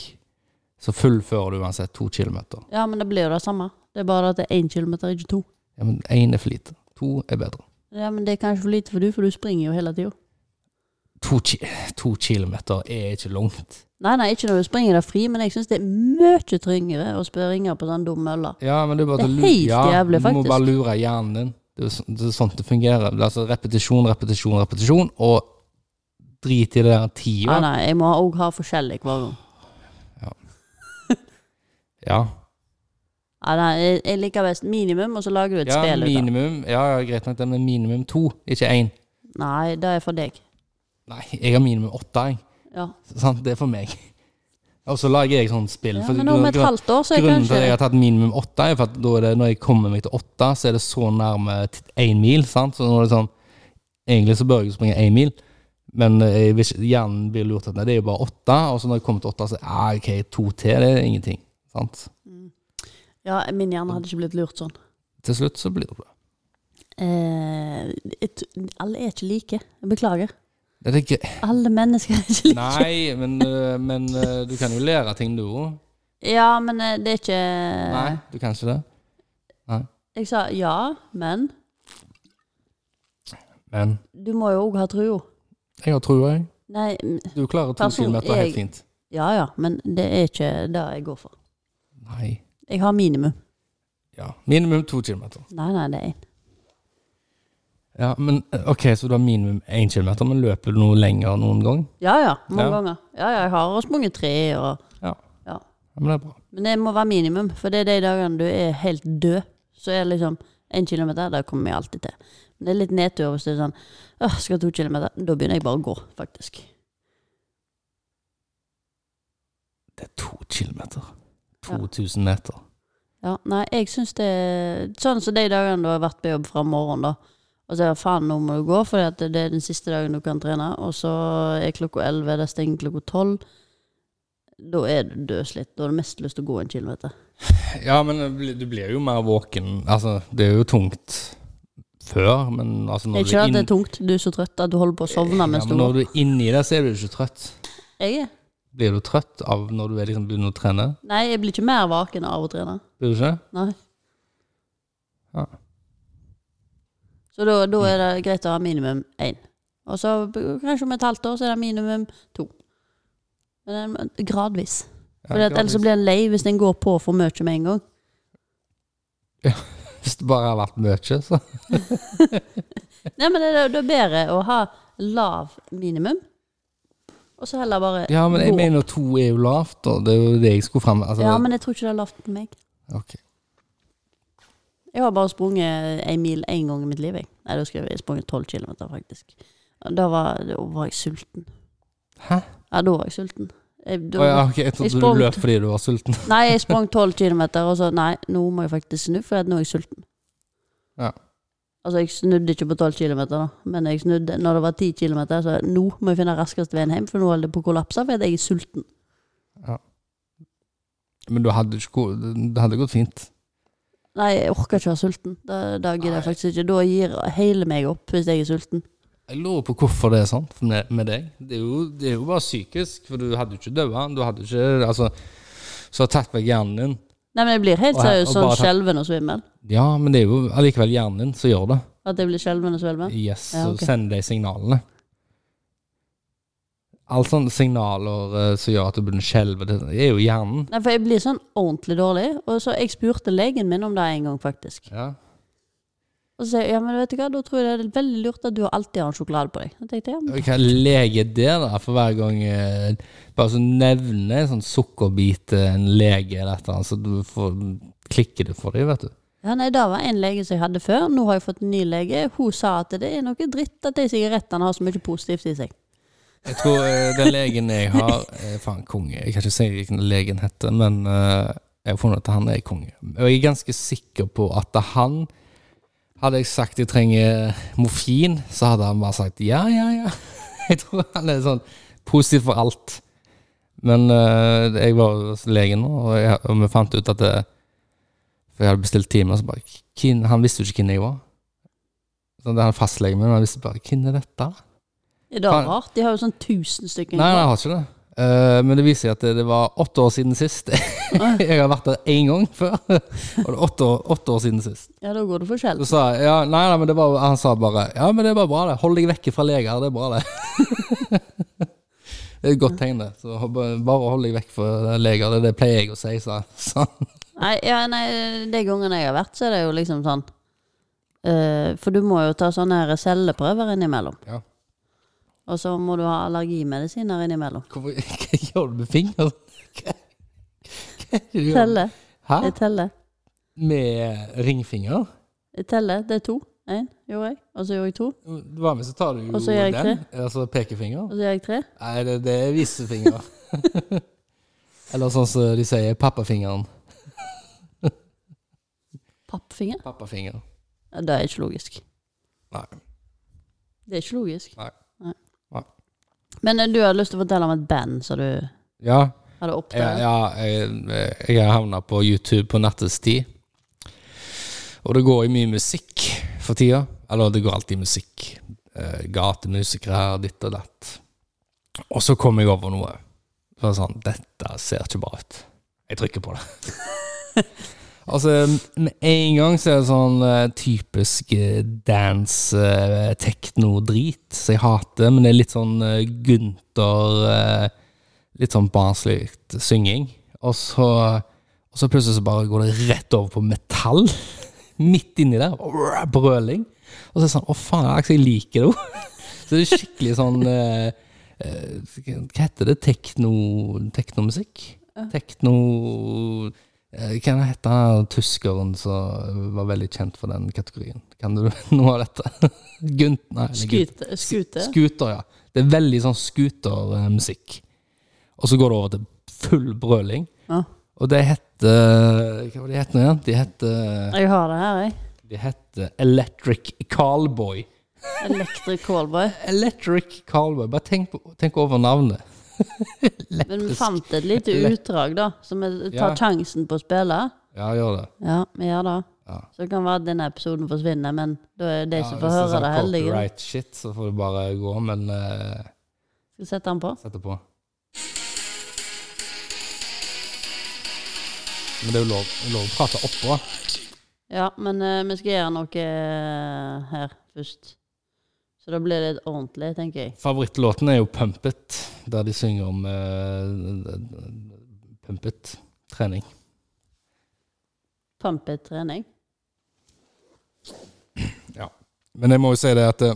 Speaker 2: så fullfører du uansett to kilometer.
Speaker 1: Ja, men det blir jo det samme. Det er bare at det er én kilometer, ikke to.
Speaker 2: Ja, men én er for lite. To er bedre.
Speaker 1: Ja, men det er kanskje for lite for du, for du springer jo hele tida.
Speaker 2: To, ki to kilometer er ikke langt.
Speaker 1: Nei, nei, ikke når du springer deg fri, men jeg syns det er mye tryngere å springe på sånn dum mølle.
Speaker 2: Ja, men det er bare
Speaker 1: Det er
Speaker 2: til å lu-
Speaker 1: helt
Speaker 2: ja,
Speaker 1: jævlig,
Speaker 2: Du
Speaker 1: faktisk.
Speaker 2: må bare lure hjernen din. Det er, jo sånn, det er sånn det fungerer. Det er altså repetisjon, repetisjon, repetisjon, og drit i det der
Speaker 1: Nei,
Speaker 2: tida.
Speaker 1: Ah, nei, jeg må òg ha forskjellig hver gang.
Speaker 2: Ja,
Speaker 1: Nei, nei, jeg- jeg liker best minimum, og så lager du et
Speaker 2: ja
Speaker 1: spill ut av det.
Speaker 2: minimum. Ja, ja, greit nok, det, men minimum to, ikke én.
Speaker 1: Nei, det er for deg.
Speaker 2: Nei, jeg har minimum åtte, jeg.
Speaker 1: Ja.
Speaker 2: Sant? Det er for meg. [laughs] Og så lager jeg sånn spill.
Speaker 1: Ja,
Speaker 2: for
Speaker 1: men om et
Speaker 2: grunn-
Speaker 1: halvt år så er
Speaker 2: Grunnen til at jeg
Speaker 1: kanskje
Speaker 2: har tatt minimum åtte, er for at da er det, når jeg kommer meg til åtte, så er det så nærme én mil. Sant? Så nå er det sånn, Egentlig så bør jeg jo springe én mil, men jeg vil ikke, hjernen blir lurt til at nei, det er jo bare åtte. Og så når jeg kommer til åtte, så ah, ok, to til, det er ingenting. Sant?
Speaker 1: Ja, min hjerne hadde ikke blitt lurt sånn.
Speaker 2: Til slutt så blir det bra.
Speaker 1: Eh, et, alle er ikke like. Jeg beklager.
Speaker 2: Det er det gøy.
Speaker 1: Alle mennesker er ikke like.
Speaker 2: [laughs] Nei, men, øh, men øh, du kan jo lære ting, du òg.
Speaker 1: Ja, men eh, det er ikke
Speaker 2: Nei, du kan ikke det.
Speaker 1: Jeg sa ja, men
Speaker 2: Men
Speaker 1: du må jo òg ha trua.
Speaker 2: jeg har trua, jeg.
Speaker 1: Nei, mm,
Speaker 2: Du klarer to
Speaker 1: Person,
Speaker 2: kilometer
Speaker 1: jeg-
Speaker 2: helt fint.
Speaker 1: ja ja, men det er ikke det jeg går for.
Speaker 2: Nei.
Speaker 1: Jeg har minimum.
Speaker 2: Ja. Minimum to kilometer.
Speaker 1: Nei, nei, det er én.
Speaker 2: Ja, men ok, så du har minimum 1 kilometer, men løper du noe lenger noen gang?
Speaker 1: Ja ja, mange
Speaker 2: Ja.
Speaker 1: ganger. Ja ja, jeg har sprunget tre og
Speaker 2: Ja.
Speaker 1: Ja.
Speaker 2: Ja, men det er bra.
Speaker 1: Men det må være minimum, for det er de dagene du er helt død. Så er det liksom én kilometer, det kommer jeg alltid til. Men det er litt nedtur hvis det er sånn Åh, skal jeg to kilometer? Da begynner jeg bare å gå, faktisk.
Speaker 2: Det er 2 kilometer.
Speaker 1: Ja.
Speaker 2: 2000 meter.
Speaker 1: Ja, nei, jeg syns det er Sånn som de dagene du har vært på jobb fra morgenen, da. Og så er det faen, nå må du gå, for det er den siste dagen du kan trene. Og så er klokka elleve, det stenger klokka tolv. da er du dødslitt. Da har du mest lyst til å gå en kilometer.
Speaker 2: Ja, men det blir- du blir jo mer våken. Altså, det er jo tungt før, men altså
Speaker 1: Det
Speaker 2: når
Speaker 1: er
Speaker 2: du
Speaker 1: ikke
Speaker 2: er,
Speaker 1: at det
Speaker 2: inn,
Speaker 1: er tungt, du er så trøtt at du holder på å sovne
Speaker 2: ja,
Speaker 1: mens
Speaker 2: men
Speaker 1: du
Speaker 2: når
Speaker 1: går.
Speaker 2: du er inni det, så er du ikke trøtt.
Speaker 1: Jeg er.
Speaker 2: Blir du trøtt av når du er liksom begynner å trene?
Speaker 1: Nei, jeg blir ikke mer vaken av å trene.
Speaker 2: Blir du ikke?
Speaker 1: Nei.
Speaker 2: Ja.
Speaker 1: Så da, da er det greit å ha minimum én. Og så b- kanskje om et halvt år så er det minimum to. Men det er gradvis.
Speaker 2: Ja,
Speaker 1: Fordi at Ellers så blir en lei hvis en går på for mye med en
Speaker 2: [laughs]
Speaker 1: gang.
Speaker 2: Hvis det bare har vært mye, så
Speaker 1: Nei, men det er, det er bedre å ha lav minimum, og så heller bare
Speaker 2: Ja, men jeg
Speaker 1: gå.
Speaker 2: mener to er jo lavt, og det er jo det jeg skulle fram altså,
Speaker 1: Ja, men jeg tror ikke det er lavt på meg.
Speaker 2: ok.
Speaker 1: Jeg har bare sprunget en mil én gang i mitt liv. Jeg. Nei, da skulle jeg jeg sprunget tolv kilometer, faktisk. Og Da var, da var jeg sulten.
Speaker 2: Hæ?
Speaker 1: Ja, da var jeg sulten. Jeg, da,
Speaker 2: Å ja, ok, jeg
Speaker 1: Jeg
Speaker 2: trodde
Speaker 1: sprang-
Speaker 2: du løp fordi du var sulten. [laughs]
Speaker 1: Nei, jeg sprang tolv kilometer, og så Nei, nå må jeg faktisk snu, for at nå er jeg sulten.
Speaker 2: Ja.
Speaker 1: Altså, jeg snudde ikke på tolv kilometer, da, men jeg snudde når det var ti kilometer. Så nå må jeg finne raskest veien hjem, for nå holder det på å kollapse, for at jeg er sulten.
Speaker 2: Men du hadde ikke ko- Det hadde gått fint.
Speaker 1: Nei, jeg orker ikke å være sulten. Da, da gidder jeg faktisk ikke. Da gir hele meg opp hvis jeg er sulten.
Speaker 2: Jeg lurer på hvorfor det er sånn for med, med deg. Det er, jo, det er jo bare psykisk, for du hadde jo ikke dødd. Du hadde ikke Altså, så har tatt vekk hjernen din.
Speaker 1: Nei, men jeg blir helt
Speaker 2: Og her-
Speaker 1: seriøst
Speaker 2: og
Speaker 1: sånn
Speaker 2: bare ta-
Speaker 1: skjelven og svimmel.
Speaker 2: Ja, men det er jo allikevel hjernen din som gjør det.
Speaker 1: At jeg blir skjelven og svimmel.
Speaker 2: Yes,
Speaker 1: Ja,
Speaker 2: så
Speaker 1: ok.
Speaker 2: sender de signalene. Alle sånne signaler eh, som gjør at du begynner å skjelve, det er jo hjernen.
Speaker 1: Nei, for jeg blir sånn ordentlig dårlig. Og så jeg spurte legen min om det en gang, faktisk.
Speaker 2: Ja.
Speaker 1: Og så sier jeg, ja, men vet du hva, da tror jeg det er veldig lurt at du alltid har en sjokolade på deg. Da tenkte jeg, ja, men
Speaker 2: Hva er lege der, da? For hver gang eh, bare så nevner en sånn sukkerbit eh, en lege eller et eller annet, så du får, klikker det for deg, vet du.
Speaker 1: ja, nei, det var en lege som jeg hadde før. Nå har jeg fått en ny lege. Hun sa at det er noe dritt at de sigarettene har så mye positivt i seg.
Speaker 2: Jeg tror eh, den legen jeg har er Faen, konge. Jeg kan ikke si hvilken legen heter, men eh, jeg har funnet at han er konge. Og jeg er ganske sikker på at han Hadde jeg sagt jeg trenger eh, morfin, så hadde han bare sagt ja, ja, ja. [laughs] Jeg tror han er sånn positiv for alt. Men eh, jeg var hos legen nå, og, jeg, og vi fant ut at det, For jeg hadde bestilt time, og så bare hvem- Han visste jo ikke hvem jeg var. Så det er han fastlegen min, men han visste bare Hvem er dette?
Speaker 1: Er det
Speaker 2: Kan-
Speaker 1: rart? De har jo sånn tusen stykker.
Speaker 2: Nei, nei, jeg har ikke det. Eh, men det viser seg at det, det var åtte år siden sist. [laughs] jeg har vært der én gang før. [laughs] Og det er åtte år, åtte år siden sist.
Speaker 1: Ja, da går det for skjelv.
Speaker 2: Så sa jeg ja, nei, nei, men det var, han sa bare ja, men det er bare bra, det. Hold deg vekke fra leger, det er bra, det. [laughs] det er et godt tegn, det. Så ho- bare bare hold deg vekk fra leger, det, det pleier jeg å si, sa sa han. [laughs]
Speaker 1: Nei, ja, nei, de gangene jeg har vært, så er det jo liksom sånn eh, For du må jo ta sånne her celleprøver innimellom.
Speaker 2: Ja.
Speaker 1: Og så må du ha allergimedisiner innimellom.
Speaker 2: Hvorfor [laughs] hva gjør du med fingeren? [laughs] Hva, hva er det du gjør?
Speaker 1: Telle.
Speaker 2: Hæ?
Speaker 1: Jeg teller.
Speaker 2: Med ringfinger?
Speaker 1: Jeg teller. Det er to. Én gjorde jeg, og så gjorde jeg to.
Speaker 2: Vanligvis så tar du jo
Speaker 1: Og så gjør jeg
Speaker 2: den, altså pekefinger.
Speaker 1: Og så gjør jeg tre.
Speaker 2: Nei, det, det er [laughs] visefinger. Eller sånn som de sier, pappafingeren.
Speaker 1: Pappfinger?
Speaker 2: Pappafinger.
Speaker 1: Ja, det er ikke logisk.
Speaker 2: Nei.
Speaker 1: Det er ikke logisk.
Speaker 2: Nei.
Speaker 1: Men eh, du hadde lyst til å fortelle om et band som du
Speaker 2: Ja,
Speaker 1: hadde
Speaker 2: ja,
Speaker 1: oppdaget?
Speaker 2: ja jeg, jeg har havna på YouTube på nattestid. Og det går jo mye musikk for tida. Eller det går alltid musikk. Eh, Gatemusikere, ditt og datt. Og så kom jeg over noe. Så var det sånn Dette ser ikke bra ut. Jeg trykker på det. [laughs] altså, med en gang så er det sånn eh, typisk eh, dance, eh, techno-drit, som jeg hater. Men det er litt sånn eh, Gunther eh, litt sånn barnslig synging. Og så, og så plutselig så bare går det rett over på metall. [laughs] Midt inni der. Brrr, Brøling. Og så er det sånn Å, faen, Alex, jeg liker det jo. [laughs] Så det er skikkelig sånn eh, eh, Hva heter det? Tekno, teknomusikk? Tekno eh, Hva er det heter han tyskeren som var veldig kjent for den kategorien? Kan du [laughs] noe av dette? Gunt... Nei. eller Gunt-
Speaker 1: Skute? skute?
Speaker 2: Scooter, ja. Det er veldig sånn scootermusikk. Og så går det over til full brøling.
Speaker 1: Ja.
Speaker 2: Og det heter Hva var det de het nå igjen? De heter,
Speaker 1: Jeg har det her, jeg.
Speaker 2: de heter Electric Callboy.
Speaker 1: Electric Callboy.
Speaker 2: Electric Callboy. Bare tenk, på- tenk over navnet.
Speaker 1: Men vi fant et lite utdrag, da, så vi tar
Speaker 2: Ja.
Speaker 1: sjansen på å spille.
Speaker 2: Ja, gjør det.
Speaker 1: Ja, vi gjør det.
Speaker 2: Ja.
Speaker 1: Så det kan være at denne episoden forsvinner, men da er det de som
Speaker 2: Ja,
Speaker 1: får
Speaker 2: hvis
Speaker 1: høre
Speaker 2: er
Speaker 1: det,
Speaker 2: sånn
Speaker 1: heldige.
Speaker 2: Copyright shit, så får du bare gå, men eh,
Speaker 1: Skal vi sette den på?
Speaker 2: sette på. Men det er jo lov, lov å prate oppå.
Speaker 1: Ja, men eh, vi skal gjøre noe eh, her først. Så da blir det litt ordentlig, tenker jeg.
Speaker 2: Favorittlåten er jo Pump It, der de synger om eh, Pump It. Trening.
Speaker 1: Pumpetrening.
Speaker 2: Ja. Men jeg må jo si det at eh,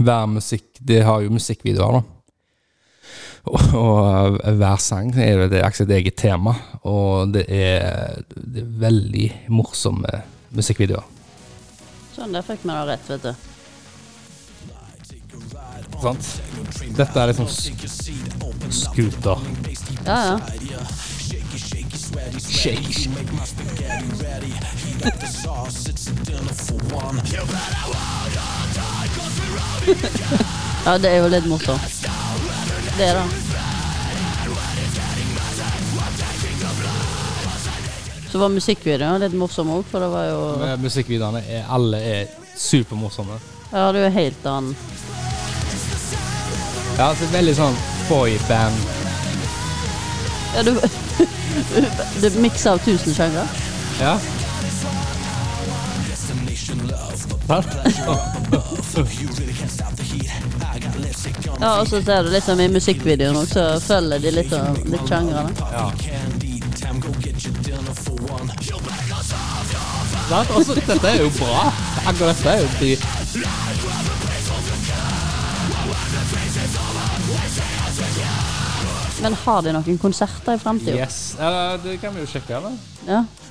Speaker 2: hver musikk Det har jo musikkvideoer, da. Og, og eh, hver sang er jo det er sitt eget tema, og det er, det er veldig morsomme musikkvideoer.
Speaker 1: Sånn, der fikk vi det rett, vet du.
Speaker 2: Sant? Dette er liksom sk scooter.
Speaker 1: Ja, ja.
Speaker 2: Shake.
Speaker 1: Ja, det er jo litt morsomt. Det er det. Så var musikkvideoen litt morsom òg, for det var jo
Speaker 2: Men eh, Musikkvideoene er alle er supermorsomme.
Speaker 1: Ja, det er jo helt annen
Speaker 2: Ja, altså veldig sånn boyband.
Speaker 1: Ja, du [laughs] Det er miks av tusen sjangre.
Speaker 2: Ja.
Speaker 1: Ja, og så ser du liksom i musikkvideoen òg, så følger de litt, sånn- litt sjangrene.
Speaker 2: Sant? Også, altså, dette er jo bra. Akkurat dette er jo drit.
Speaker 1: Men har de noen konserter i framtida?
Speaker 2: Yes. Ja, det kan vi jo sjekke. Eller?
Speaker 1: Ja. Eh,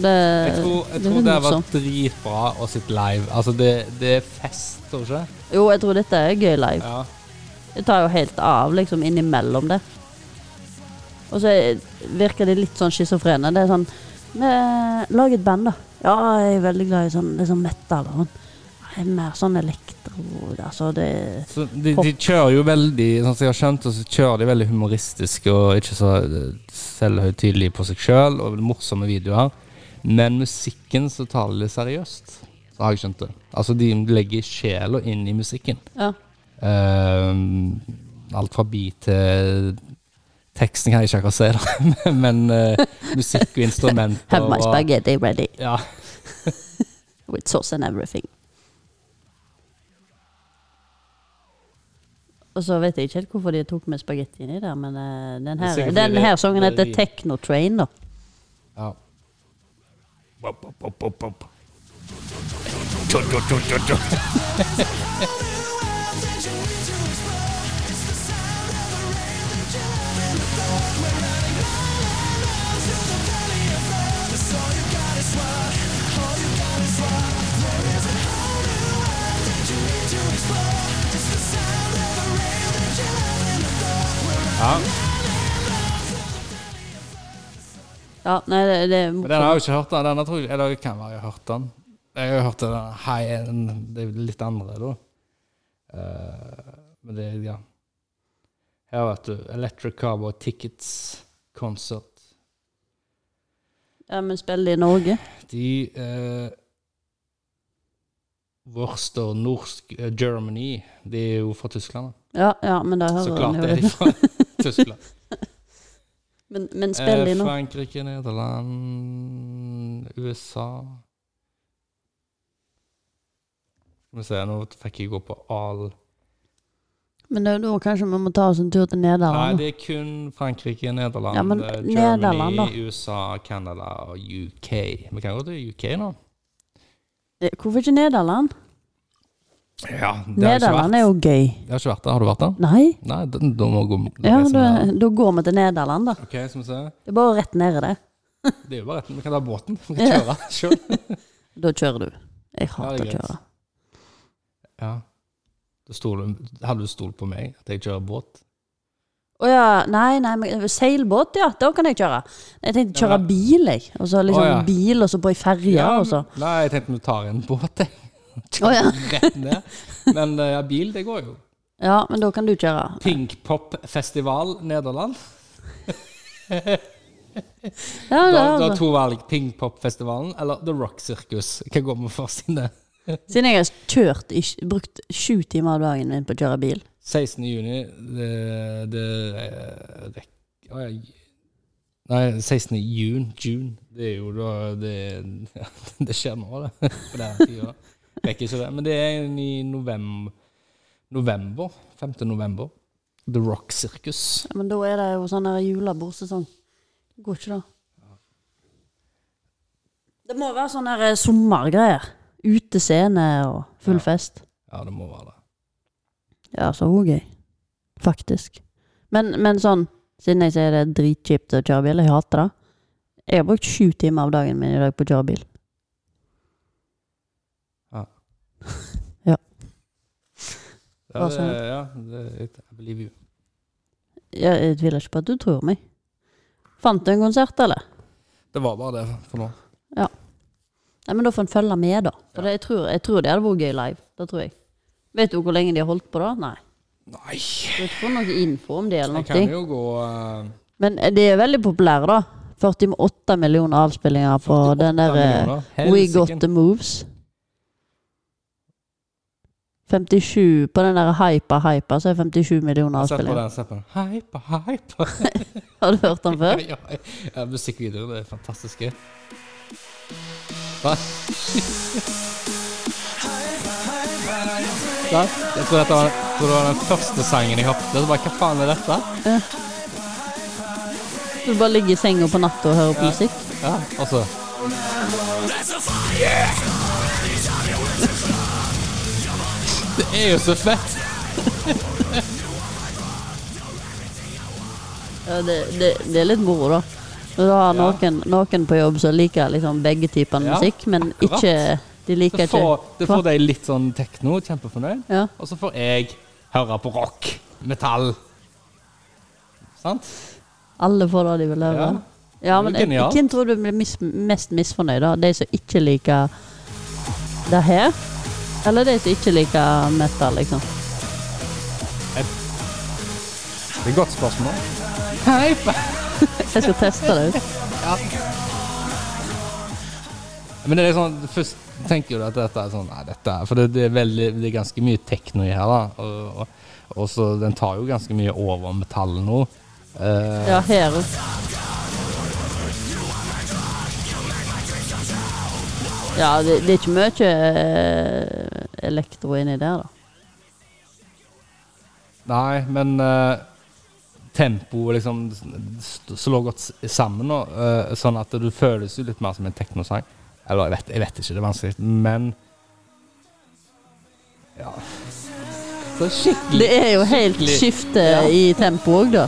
Speaker 1: Det,
Speaker 2: Jeg tror, jeg tror
Speaker 1: litt
Speaker 2: det har
Speaker 1: morsomt.
Speaker 2: vært dritbra å sitte live. Altså, det, det er fest, tror du ikke?
Speaker 1: Jo, jeg tror dette er gøy live.
Speaker 2: Ja.
Speaker 1: Det tar jo helt av liksom innimellom det. Og så er- virker de litt sånn schizofrene. Det er sånn «Vi- Lag et band, da. Ja, jeg er veldig glad i sånn liksom metal. Og sånn. Jeg er mer sånn elektro altså det,
Speaker 2: Så de, de kjører jo veldig Sånn som jeg har skjønt, så kjører de veldig humoristisk og ikke så eh, selvhøytidelig på seg sjøl, og morsomme videoer. Men musikken så tar de det seriøst. Så har jeg skjønt det. Altså, de legger sjela inn i musikken.
Speaker 1: Ja.
Speaker 2: Ehm, alt fra beat til Teksten kan jeg ikke akkurat si, da, [laughs] men eh, musikk og instrumenter
Speaker 1: Have my
Speaker 2: og-
Speaker 1: spaghetti ready
Speaker 2: Ja.
Speaker 1: with sauce and everything. Og så vet jeg ikke helt hvorfor de tok med spagetti inni der, men eh, den
Speaker 2: er
Speaker 1: her,
Speaker 2: sikkert
Speaker 1: den
Speaker 2: fordi
Speaker 1: her
Speaker 2: det-
Speaker 1: sangen
Speaker 2: det er
Speaker 1: heter
Speaker 2: rim.
Speaker 1: Techno Train, da.
Speaker 2: ja. Bop, bop, bop, bop, bop.
Speaker 1: Ja, nei, det, det er
Speaker 2: Men den
Speaker 1: morsomt.
Speaker 2: har jeg jo ikke hørt, den. Denne tror jeg, eller det kan være jeg har hørt den. Jeg har jo hørt den high end, det er jo litt andre, da. Eh, men det, ja. Her, vet du. Electric Cowboy Tickets Concert.
Speaker 1: Ja, men spiller de i Norge?
Speaker 2: De eh, Worcester, norsk eh, Germany De er jo fra Tyskland.
Speaker 1: Ja, ja men da
Speaker 2: Da.
Speaker 1: hører
Speaker 2: Så
Speaker 1: han
Speaker 2: klart
Speaker 1: jo det.
Speaker 2: er de fra
Speaker 1: [laughs]
Speaker 2: Tyskland.
Speaker 1: Men, men spiller de
Speaker 2: Eh,
Speaker 1: nå?
Speaker 2: Frankrike, Nederland, USA Skal vi se, nå fikk jeg gå på all
Speaker 1: Men da, da kanskje vi må ta oss en tur til
Speaker 2: Nei,
Speaker 1: Nederland? da.
Speaker 2: det er kun Frankrike, Nederland,
Speaker 1: Ja, men
Speaker 2: eh,
Speaker 1: Nederland, da.
Speaker 2: Germany, USA, Canada og UK. Vi kan gå til UK nå.
Speaker 1: Eh, Hvorfor ikke Nederland?
Speaker 2: Ja, det har jeg ikke
Speaker 1: Nederland
Speaker 2: vært.
Speaker 1: er jo gøy.
Speaker 2: Jeg har ikke vært der. Har du vært der?
Speaker 1: Nei?
Speaker 2: Nei, da, da må jeg gå da
Speaker 1: Ja,
Speaker 2: reiser
Speaker 1: da,
Speaker 2: vi der.
Speaker 1: da går vi til Nederland, da.
Speaker 2: Ok, skal vi se.
Speaker 1: Det er bare rett nede der.
Speaker 2: Det er jo bare rett. Vi kan ta båten. Vi kan kjøre selv.
Speaker 1: Da kjører du. Jeg
Speaker 2: Ja,
Speaker 1: hater
Speaker 2: det
Speaker 1: å
Speaker 2: er greit.
Speaker 1: kjøre.
Speaker 2: Ja. Da stoler du- hadde du stolt på meg, at jeg kjører båt?
Speaker 1: Å ja, nei, nei, men seilbåt, ja. Da kan jeg kjøre. Jeg tenkte
Speaker 2: Ja,
Speaker 1: kjøre
Speaker 2: men-
Speaker 1: bil, jeg. Og så liksom
Speaker 2: Å, ja.
Speaker 1: bil, og så på ei ferje, og
Speaker 2: [laughs]
Speaker 1: så.
Speaker 2: Nei, jeg tenkte vi tar en båt, jeg. [laughs]
Speaker 1: Å ja.
Speaker 2: Rett ned. Men eh, ja, bil, det går jo.
Speaker 1: Ja, men da kan du kjøre.
Speaker 2: Pinkpopfestival Nederland.
Speaker 1: Ja,
Speaker 2: Du
Speaker 1: det
Speaker 2: har, du har
Speaker 1: er, altså.
Speaker 2: to valg. Pinkpopfestivalen eller The Rock Circus. Hva går vi først inn i?
Speaker 1: siden jeg har kjørt i, brukt sju timer av dagen min på å kjøre bil.
Speaker 2: 16. juni det, det, det, å, jeg, Nei, 16. jun. June. Det er jo da Det, [laughs] det skjer nå, [laughs] det. På den tida. Rekker ikke det. Men det er i november. november 5. november. The Rock Circus.
Speaker 1: Ja, men da er det jo sånn her julebordsesong. Det Går ikke det? Det må være sånne her sommergreier. Utescene og full fest.
Speaker 2: Ja, det må være det.
Speaker 1: Ja, så òg gøy. Faktisk. Men, men sånn, siden jeg sier det er dritkjipt å kjøre bil, jeg hater det. Jeg har brukt sju timer av dagen min i dag på å kjøre bil.
Speaker 2: Ja.
Speaker 1: Ja.
Speaker 2: Ja,
Speaker 1: Hva
Speaker 2: det,
Speaker 1: sa du?
Speaker 2: ja, det, I believe you.
Speaker 1: Jeg, jeg tviler ikke på at du tror meg. Fant du en konsert, eller?
Speaker 2: Det var bare det for nå.
Speaker 1: Nei, men da får en følge med, da. For det, jeg, tror, jeg tror det hadde vært gøy live. Det tror jeg. Vet du hvor lenge de har holdt på, da? Nei.
Speaker 2: Nei!
Speaker 1: Du har ikke fått noe info om det, eller
Speaker 2: Jeg kan
Speaker 1: noe.
Speaker 2: jo gå eh,
Speaker 1: Men de er veldig populære, da. 48 millioner avspillinger på den der eh,
Speaker 2: millioner.
Speaker 1: We
Speaker 2: Helsike.
Speaker 1: Got The Moves. 57 På den der hypa hypa, så er 57 millioner
Speaker 2: Sett på
Speaker 1: avspillinger.
Speaker 2: den, sett på den. Hype, hype.
Speaker 1: Har du hørt den
Speaker 2: Ja,
Speaker 1: før?
Speaker 2: [laughs] ja, ja. Musikkvideoer, det er fantastiske. Hva? [laughs] Der. Jeg tror dette var, tror det var den første sangen jeg hoppet. Det var, Hva faen er dette?
Speaker 1: Du bare ligger i senga på natta og hører på musikk?
Speaker 2: Ja, altså. Det er jo så fett!
Speaker 1: Ja, det, det, det er litt moro, da. Når du har noen, noen på jobb som liker liksom begge typer
Speaker 2: Ja,
Speaker 1: musikk, men
Speaker 2: akkurat.
Speaker 1: ikke De liker
Speaker 2: Det får, det
Speaker 1: ikke
Speaker 2: får deg litt sånn tekno, kjempefornøyd.
Speaker 1: Ja.
Speaker 2: Og så får jeg høre på rock, metall. Sant?
Speaker 1: Alle får det de vil høre.
Speaker 2: Ja.
Speaker 1: Ja, ja
Speaker 2: Det er
Speaker 1: men eh,
Speaker 2: jo genialt.
Speaker 1: Hvem tror du blir mis, mest misfornøyd, da? De som ikke liker det her? Eller de som ikke liker metal, liksom?
Speaker 2: Det er et godt spørsmål. Hype!
Speaker 1: Jeg skal teste det ut.
Speaker 2: Men det er liksom, først tenker du at dette er sånn Nei, dette er For det, det, er, veldig, det er ganske mye tekno i her, da. Og, og, og så den tar jo ganske mye over metallen nå. Eh,
Speaker 1: Ja, her Ja, det, det er ikke mye eh, elektro inni der, da.
Speaker 2: nei, men eh, tempoet liksom st- slår godt s- sammen nå, eh, sånn at du føles jo litt mer som en teknosang. Eller jeg vet, jeg vet ikke, det er vanskelig, men Ja. Så skikkelig
Speaker 1: Det er jo helt
Speaker 2: skikkelig-
Speaker 1: skifte i tempo òg, da.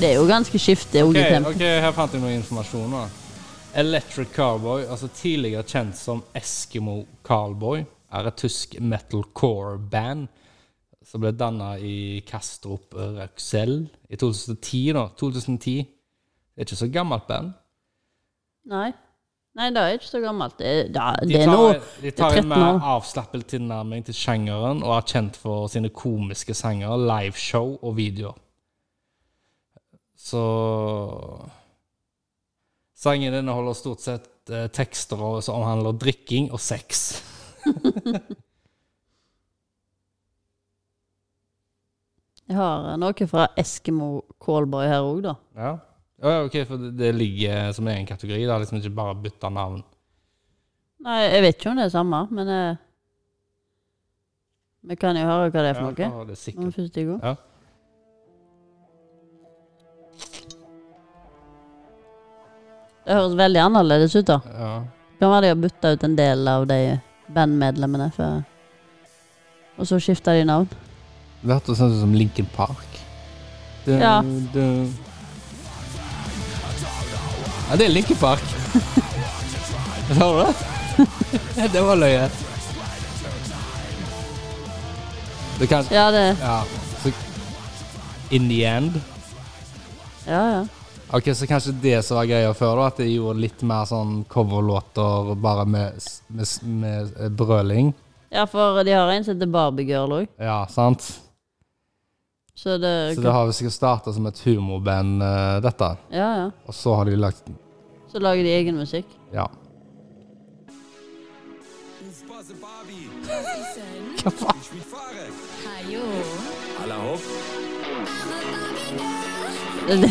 Speaker 1: Det er jo ganske skifte òg i
Speaker 2: Ok,
Speaker 1: tempo.
Speaker 2: ok, her fant jeg noe informasjon. da. Electric Cowboy, altså tidligere kjent som Eskimo Cowboy, er et tysk metalcore-band som ble danna i Kastrup Røksel i 2010. da, 2010. Det er ikke så gammelt band.
Speaker 1: Nei. Nei, det er ikke så gammelt. Det, er- da,
Speaker 2: De
Speaker 1: det er
Speaker 2: tar,
Speaker 1: nå
Speaker 2: de
Speaker 1: det
Speaker 2: tar
Speaker 1: er
Speaker 2: en
Speaker 1: 13 år.
Speaker 2: mer avslappet tilnærming til sjangeren og er kjent for sine komiske sanger, liveshow og videoer. Så Sangen inneholder stort sett eh, tekster og- som omhandler drikking og sex.
Speaker 1: Jeg har eh, noe fra Eskimo Callboy her òg, da.
Speaker 2: Ja. Å ja, OK, for det, det ligger som egen kategori. Det er liksom ikke bare å bytte navn.
Speaker 1: Nei, jeg vet ikke om det er samme, men eh, Vi kan jo høre hva det er for
Speaker 2: Ja,
Speaker 1: noe.
Speaker 2: ja, det er
Speaker 1: Om
Speaker 2: sikkert.
Speaker 1: først i går.
Speaker 2: Ja.
Speaker 1: Det høres veldig annerledes ut, da.
Speaker 2: Ja.
Speaker 1: Kan være de har bytta ut en del av de bandmedlemmene før. Og så skifta de navn.
Speaker 2: Det hørtes sånn ut som Lincoln Park. Du,
Speaker 1: Ja.
Speaker 2: du. ja, det er Lincoln Park. [laughs] Sa du det? det [laughs] var løye. Det kan
Speaker 1: Ja, det
Speaker 2: Ja. Så In the end
Speaker 1: Ja, ja.
Speaker 2: Ok, Så kanskje det som var greia før, da, at jeg gjorde litt mer sånn coverlåter bare med, s- med, s- med eh, brøling.
Speaker 1: Ja, for de har en som heter Barbiegirl òg,
Speaker 2: Ja, sant?
Speaker 1: så det
Speaker 2: Så det har jo sikkert starta som et humorband, eh, dette.
Speaker 1: Ja, ja.
Speaker 2: Og så har de lagt
Speaker 1: Så lager de egen musikk.
Speaker 2: Ja.
Speaker 3: Ich bin Farek.
Speaker 4: [laughs] Hallo.
Speaker 3: Aller hopp.
Speaker 1: Det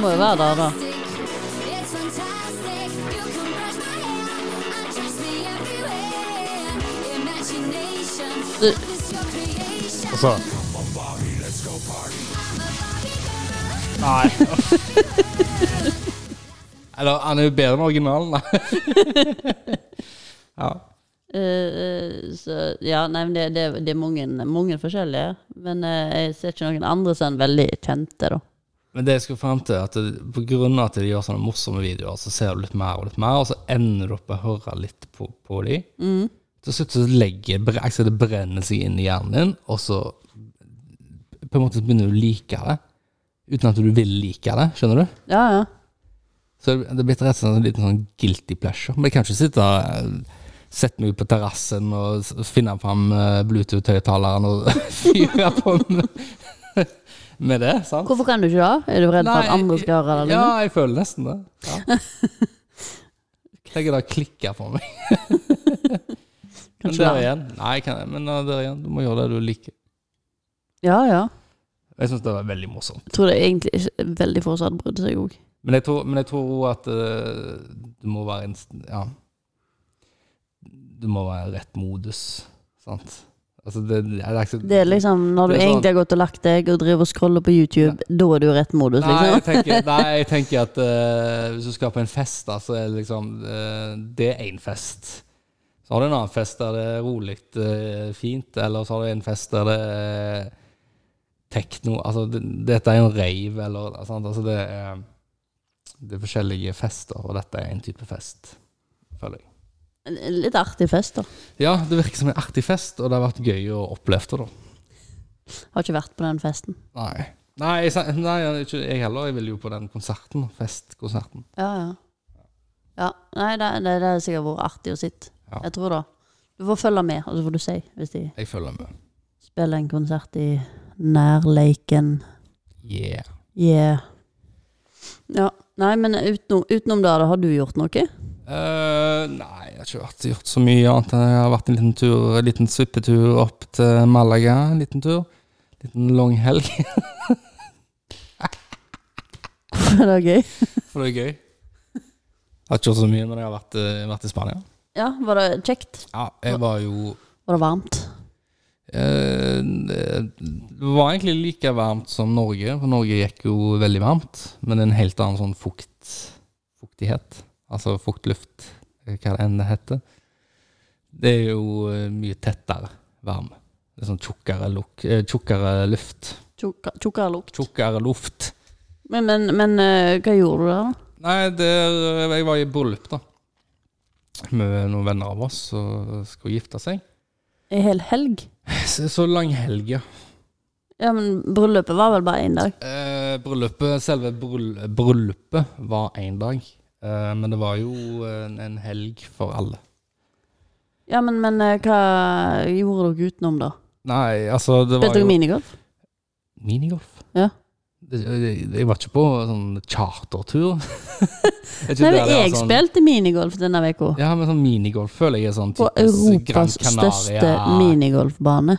Speaker 1: må jo være der, da.
Speaker 4: It's fantastic. You can brush my hair and chase me everywhere. Imagination.
Speaker 1: Du-
Speaker 4: Life is your creation.
Speaker 2: Og så Nei. Eller han er jo bedre enn originalen, da. [laughs] ja.
Speaker 1: Eh, eh, så Ja, nei, men det, det, det er mange, mange forskjellige. Men eh, jeg ser ikke noen andre som er veldig kjente, da.
Speaker 2: Men det jeg skal frem til, er at det, på grunn av at de gjør sånne morsomme videoer, så ser du litt mer og litt mer, og så ender du opp med å høre litt på, på de. Til slutt så legger bre- altså det brenner seg inn i hjernen din, og så på en måte så begynner du å like det, uten at du vil like det, skjønner du?
Speaker 1: Ja, ja.
Speaker 2: Så det det blir rett og slett en liten sånn guilty pleasure. Men jeg kan ikke sitte og eh, sette meg ut på terrassen og s- finne fram eh, Bluetooth-høyttaleren og [laughs] fyre på med, [laughs] med det, sant?
Speaker 1: Hvorfor kan du ikke det? Er du redd for at
Speaker 2: Nei,
Speaker 1: andre skal høre det?
Speaker 2: Ja,
Speaker 1: Liksom?
Speaker 2: jeg føler nesten det.
Speaker 1: [laughs]
Speaker 2: Ja. Tenk at det klikker for meg. men
Speaker 1: Kanskje
Speaker 2: der
Speaker 1: det.
Speaker 2: igjen. Nei, kan jeg, men eh, der igjen. Du må gjøre det du liker.
Speaker 1: Ja, ja.
Speaker 2: Jeg syns det var veldig morsomt.
Speaker 1: Jeg tror det er egentlig ikke veldig få som hadde brydd seg òg.
Speaker 2: Men jeg tror, men jeg tror også at eh, du må være en, Ja. Du må være i rett modus, sant? Altså, det, det, er ikke så-
Speaker 1: Det er liksom når du
Speaker 2: Det er sånn-
Speaker 1: egentlig har gått og lagt deg og driver og scroller på YouTube, da er du i rett modus,
Speaker 2: Nei, jeg
Speaker 1: liksom.
Speaker 2: tenker, nei, jeg tenker at eh, hvis du skal på en fest, da, så er det liksom eh, Det er én fest. Så har du en annen fest der det er rolig, eh, fint, eller så har du en fest der det er tekno Altså, det, dette er en rave, eller sant? Altså, det er, det er forskjellige fester, og dette er en type fest, føler jeg.
Speaker 1: En Litt artig fest, da.
Speaker 2: Ja, det virker som en artig fest, og det har vært gøy å oppleve det, da.
Speaker 1: Har ikke vært på den festen.
Speaker 2: Nei. Nei, jeg, sa- nei, ikke jeg heller. Jeg vil jo på den konserten. Festkonserten.
Speaker 1: Ja, ja. ja. Nei, det, det, det har sikkert vært artig å sitte.
Speaker 2: Ja.
Speaker 1: Jeg tror det. Du får følge med, og så får du si hvis de
Speaker 2: Jeg følger med.
Speaker 1: spiller en konsert i nærleiken.
Speaker 2: Yeah.
Speaker 1: Yeah. Ja. Nei, men utenom, utenom [laughs] det, da, har du gjort noe?
Speaker 2: Eh, nei, jeg har ikke vært, gjort så mye annet. Jeg har vært en liten tur, en liten svippetur opp til Malaga. En liten tur. Liten lang helg. [laughs]
Speaker 1: det er gøy.
Speaker 2: For det er gøy. Jeg har ikke gjort så mye, men jeg har vært, eh, vært i Spania.
Speaker 1: Ja, var det kjekt?
Speaker 2: Ja, jeg var jo
Speaker 1: Var det varmt?
Speaker 2: eh, Det var egentlig like varmt som Norge, for Norge gikk jo veldig varmt. Men en helt annen sånn fukt, fuktighet. Altså fuktluft, hva det enn det heter. Det er jo eh, mye tettere varme. Det er sånn tjukkere, luk, eh, tjukkere luft.
Speaker 1: Tjukka- Tjukkere lukt.
Speaker 2: Tjukkere luft.
Speaker 1: Men, men, men eh, hva gjorde du der, da?
Speaker 2: Nei, der, eh, jeg var i bryllup, da. Med noen venner av oss som skulle gifte seg.
Speaker 1: Ei hel helg?
Speaker 2: Så, så lang helg, ja.
Speaker 1: Ja, men bryllupet var vel bare én dag?
Speaker 2: Eh, bryllupet, selve bryll, bryllupet var én dag. Eh, men det var jo en, en helg for alle.
Speaker 1: Ja, men, men eh, hva gjorde dere utenom, da?
Speaker 2: Nei, altså det var
Speaker 1: Spilte
Speaker 2: jo
Speaker 1: dere minigolf?
Speaker 2: Minigolf.
Speaker 1: Ja.
Speaker 2: Det- det- Jeg var ikke på sånn chartertur. [laughs] Jeg er ikke
Speaker 1: Nei,
Speaker 2: der
Speaker 1: men
Speaker 2: det er
Speaker 1: jeg
Speaker 2: sånn-
Speaker 1: spilte minigolf denne uka.
Speaker 2: Ja, men sånn minigolf føler jeg er sånn
Speaker 1: På
Speaker 2: typisk Gran
Speaker 1: Europas største
Speaker 2: Canaria.
Speaker 1: minigolfbane.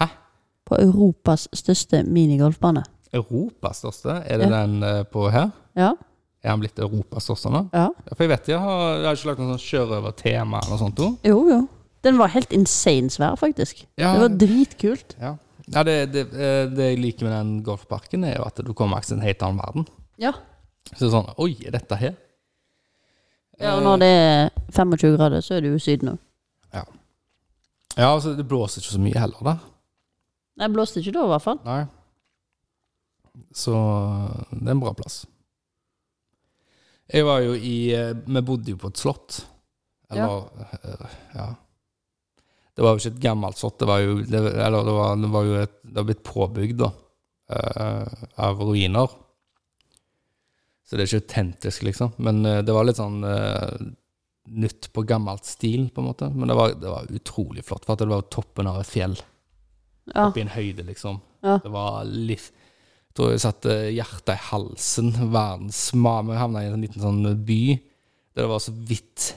Speaker 2: Hæ?
Speaker 1: På Europas største minigolfbane.
Speaker 2: Europas største? Er det
Speaker 1: Ja.
Speaker 2: den eh, på her?
Speaker 1: Ja.
Speaker 2: Er han blitt Europas største nå?
Speaker 1: ja.
Speaker 2: Ja, For jeg vet jeg har, jeg har ikke lagt noe sånn sjørøvertema eller noe sånt. også.
Speaker 1: Jo, jo. Den var helt insane svær, faktisk.
Speaker 2: Ja.
Speaker 1: Det var dritkult.
Speaker 2: Ja, ja det, det, eh, det jeg liker med den golfparken, er jo at du kommer til en helt annen verden.
Speaker 1: Ja.
Speaker 2: Så det er sånn Oi, er dette her?
Speaker 1: ja.
Speaker 2: Eh.
Speaker 1: Og når det er 25 grader, så er det jo Syden òg.
Speaker 2: Ja. Ja, altså, det blåser ikke så mye heller, da.
Speaker 1: Nei, blåste ikke da, i hvert fall.
Speaker 2: Nei. Så eh, det er en bra plass. Jeg var jo i eh, Vi bodde jo på et slott. Eller eh, Ja. Det var jo ikke et gammelt slott, det var jo det, Eller det var, det var jo et Det har blitt påbygd, da. eh, av ruiner. Så det er ikke autentisk, liksom. Men eh, det var litt sånn eh, nytt på gammelt stil, på en måte. Men det var, det var utrolig flott, for at det var toppen av et fjell.
Speaker 1: Ja.
Speaker 2: Oppe i en høyde, liksom.
Speaker 1: Ja.
Speaker 2: Det var litt Jeg tror jeg satte hjertet i halsen. Verdens ma- Vi havna i en liten sånn by der det var så vidt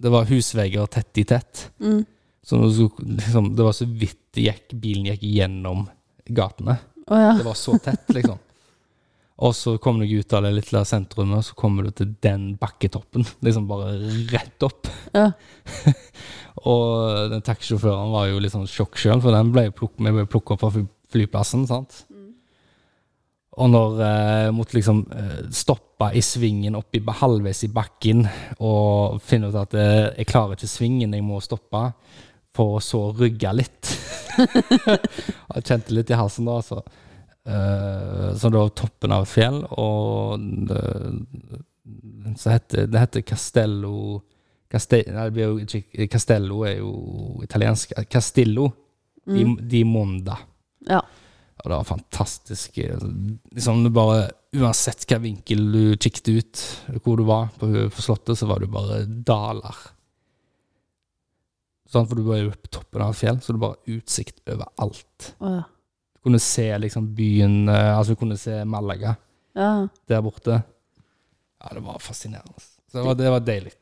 Speaker 2: Det var husvegger tett i tett.
Speaker 1: Mm.
Speaker 2: Så når du skulle- liksom, det var så vidt det gikk, bilen gikk gjennom gatene.
Speaker 1: Å ja.
Speaker 2: Det var så tett, liksom. Og så kommer du ut av det lille sentrumet, og så kommer du til den bakketoppen. Liksom bare rett opp.
Speaker 1: Ja.
Speaker 2: og den taxisjåføren var jo litt sånn sjokk sjøl, for den ble jo plukk, vi ble plukka opp fra fly- flyplassen. sant? Og når jeg måtte liksom eh, stoppe i svingen oppi ba- halvveis i bakken og finne ut at eh, jeg klarer ikke svingen, jeg må stoppe, for å så rygge litt. Og jeg kjente litt i halsen da, altså. Eh, så det var toppen av et fjell, og det, så heter, det heter Castello Caste, Nei, det blir jo ikke Castello er jo italiensk. eh, Castillo di, di Monda.
Speaker 1: ja.
Speaker 2: Og det var fantastisk. eh, Liksom du bare, uansett hvilken vinkel du kikket ut, hvor du var på, på slottet, så var du bare daler. Sånn, for du var jo på toppen av et fjell, så du bare har utsikt overalt.
Speaker 1: Å ja.
Speaker 2: Du kunne se liksom byen, eh, altså du kunne se Malaga
Speaker 1: ja.
Speaker 2: der borte. Ja, det var fascinerende. Så det var, det var deilig.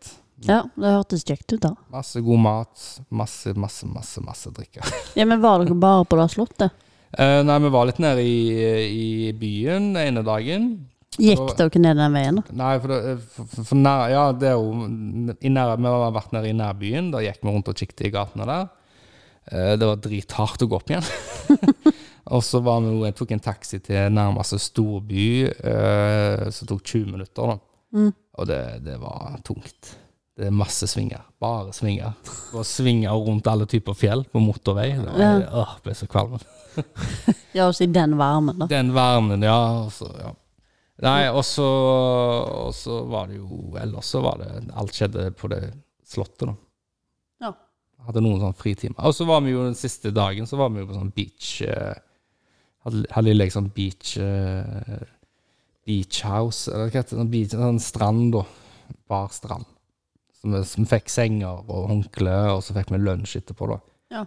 Speaker 1: Ja, det hørtes kjekt ut, da.
Speaker 2: Masse god mat, masse, masse, masse, masse drikke.
Speaker 1: Ja, Men var dere bare på det slottet?
Speaker 2: Eh, nei, vi var litt nede i, i byen den ene dagen.
Speaker 1: Gikk dere ned den veien? da?
Speaker 2: Nei, for, det, eh, for, for- for nær, ja, det er jo i nær, Vi har vært nede i nærbyen. Da gikk vi rundt og kikket i gatene der. Eh, Det var drithardt å gå opp igjen. [laughs] og så var vi, jo- jeg tok en taxi til nærmeste storby, eh, som tok 20 minutter. da. Og det, det var tungt. Det er masse svinger. Bare svinger. Det var svinger rundt alle typer fjell på motorvei. Det var, åh, ble så kvalm.
Speaker 1: Ja, også i den varmen, da.
Speaker 2: Den varmen, ja. og så- ja. Nei, og så, og så var det jo Ellers så var det Alt skjedde på det slottet, da.
Speaker 1: Ja.
Speaker 2: Hadde noen sånne fritimer. Og så var vi jo den siste dagen så var vi jo på sånn beach eh, Hadde, hadde de liksom beach eh, Beach house, eller hva heter det? Sånn, beach, sånn strand, da. Bar strand. Så vi, så vi fikk senger og håndkle, og så fikk vi lunsj etterpå, da.
Speaker 1: Ja.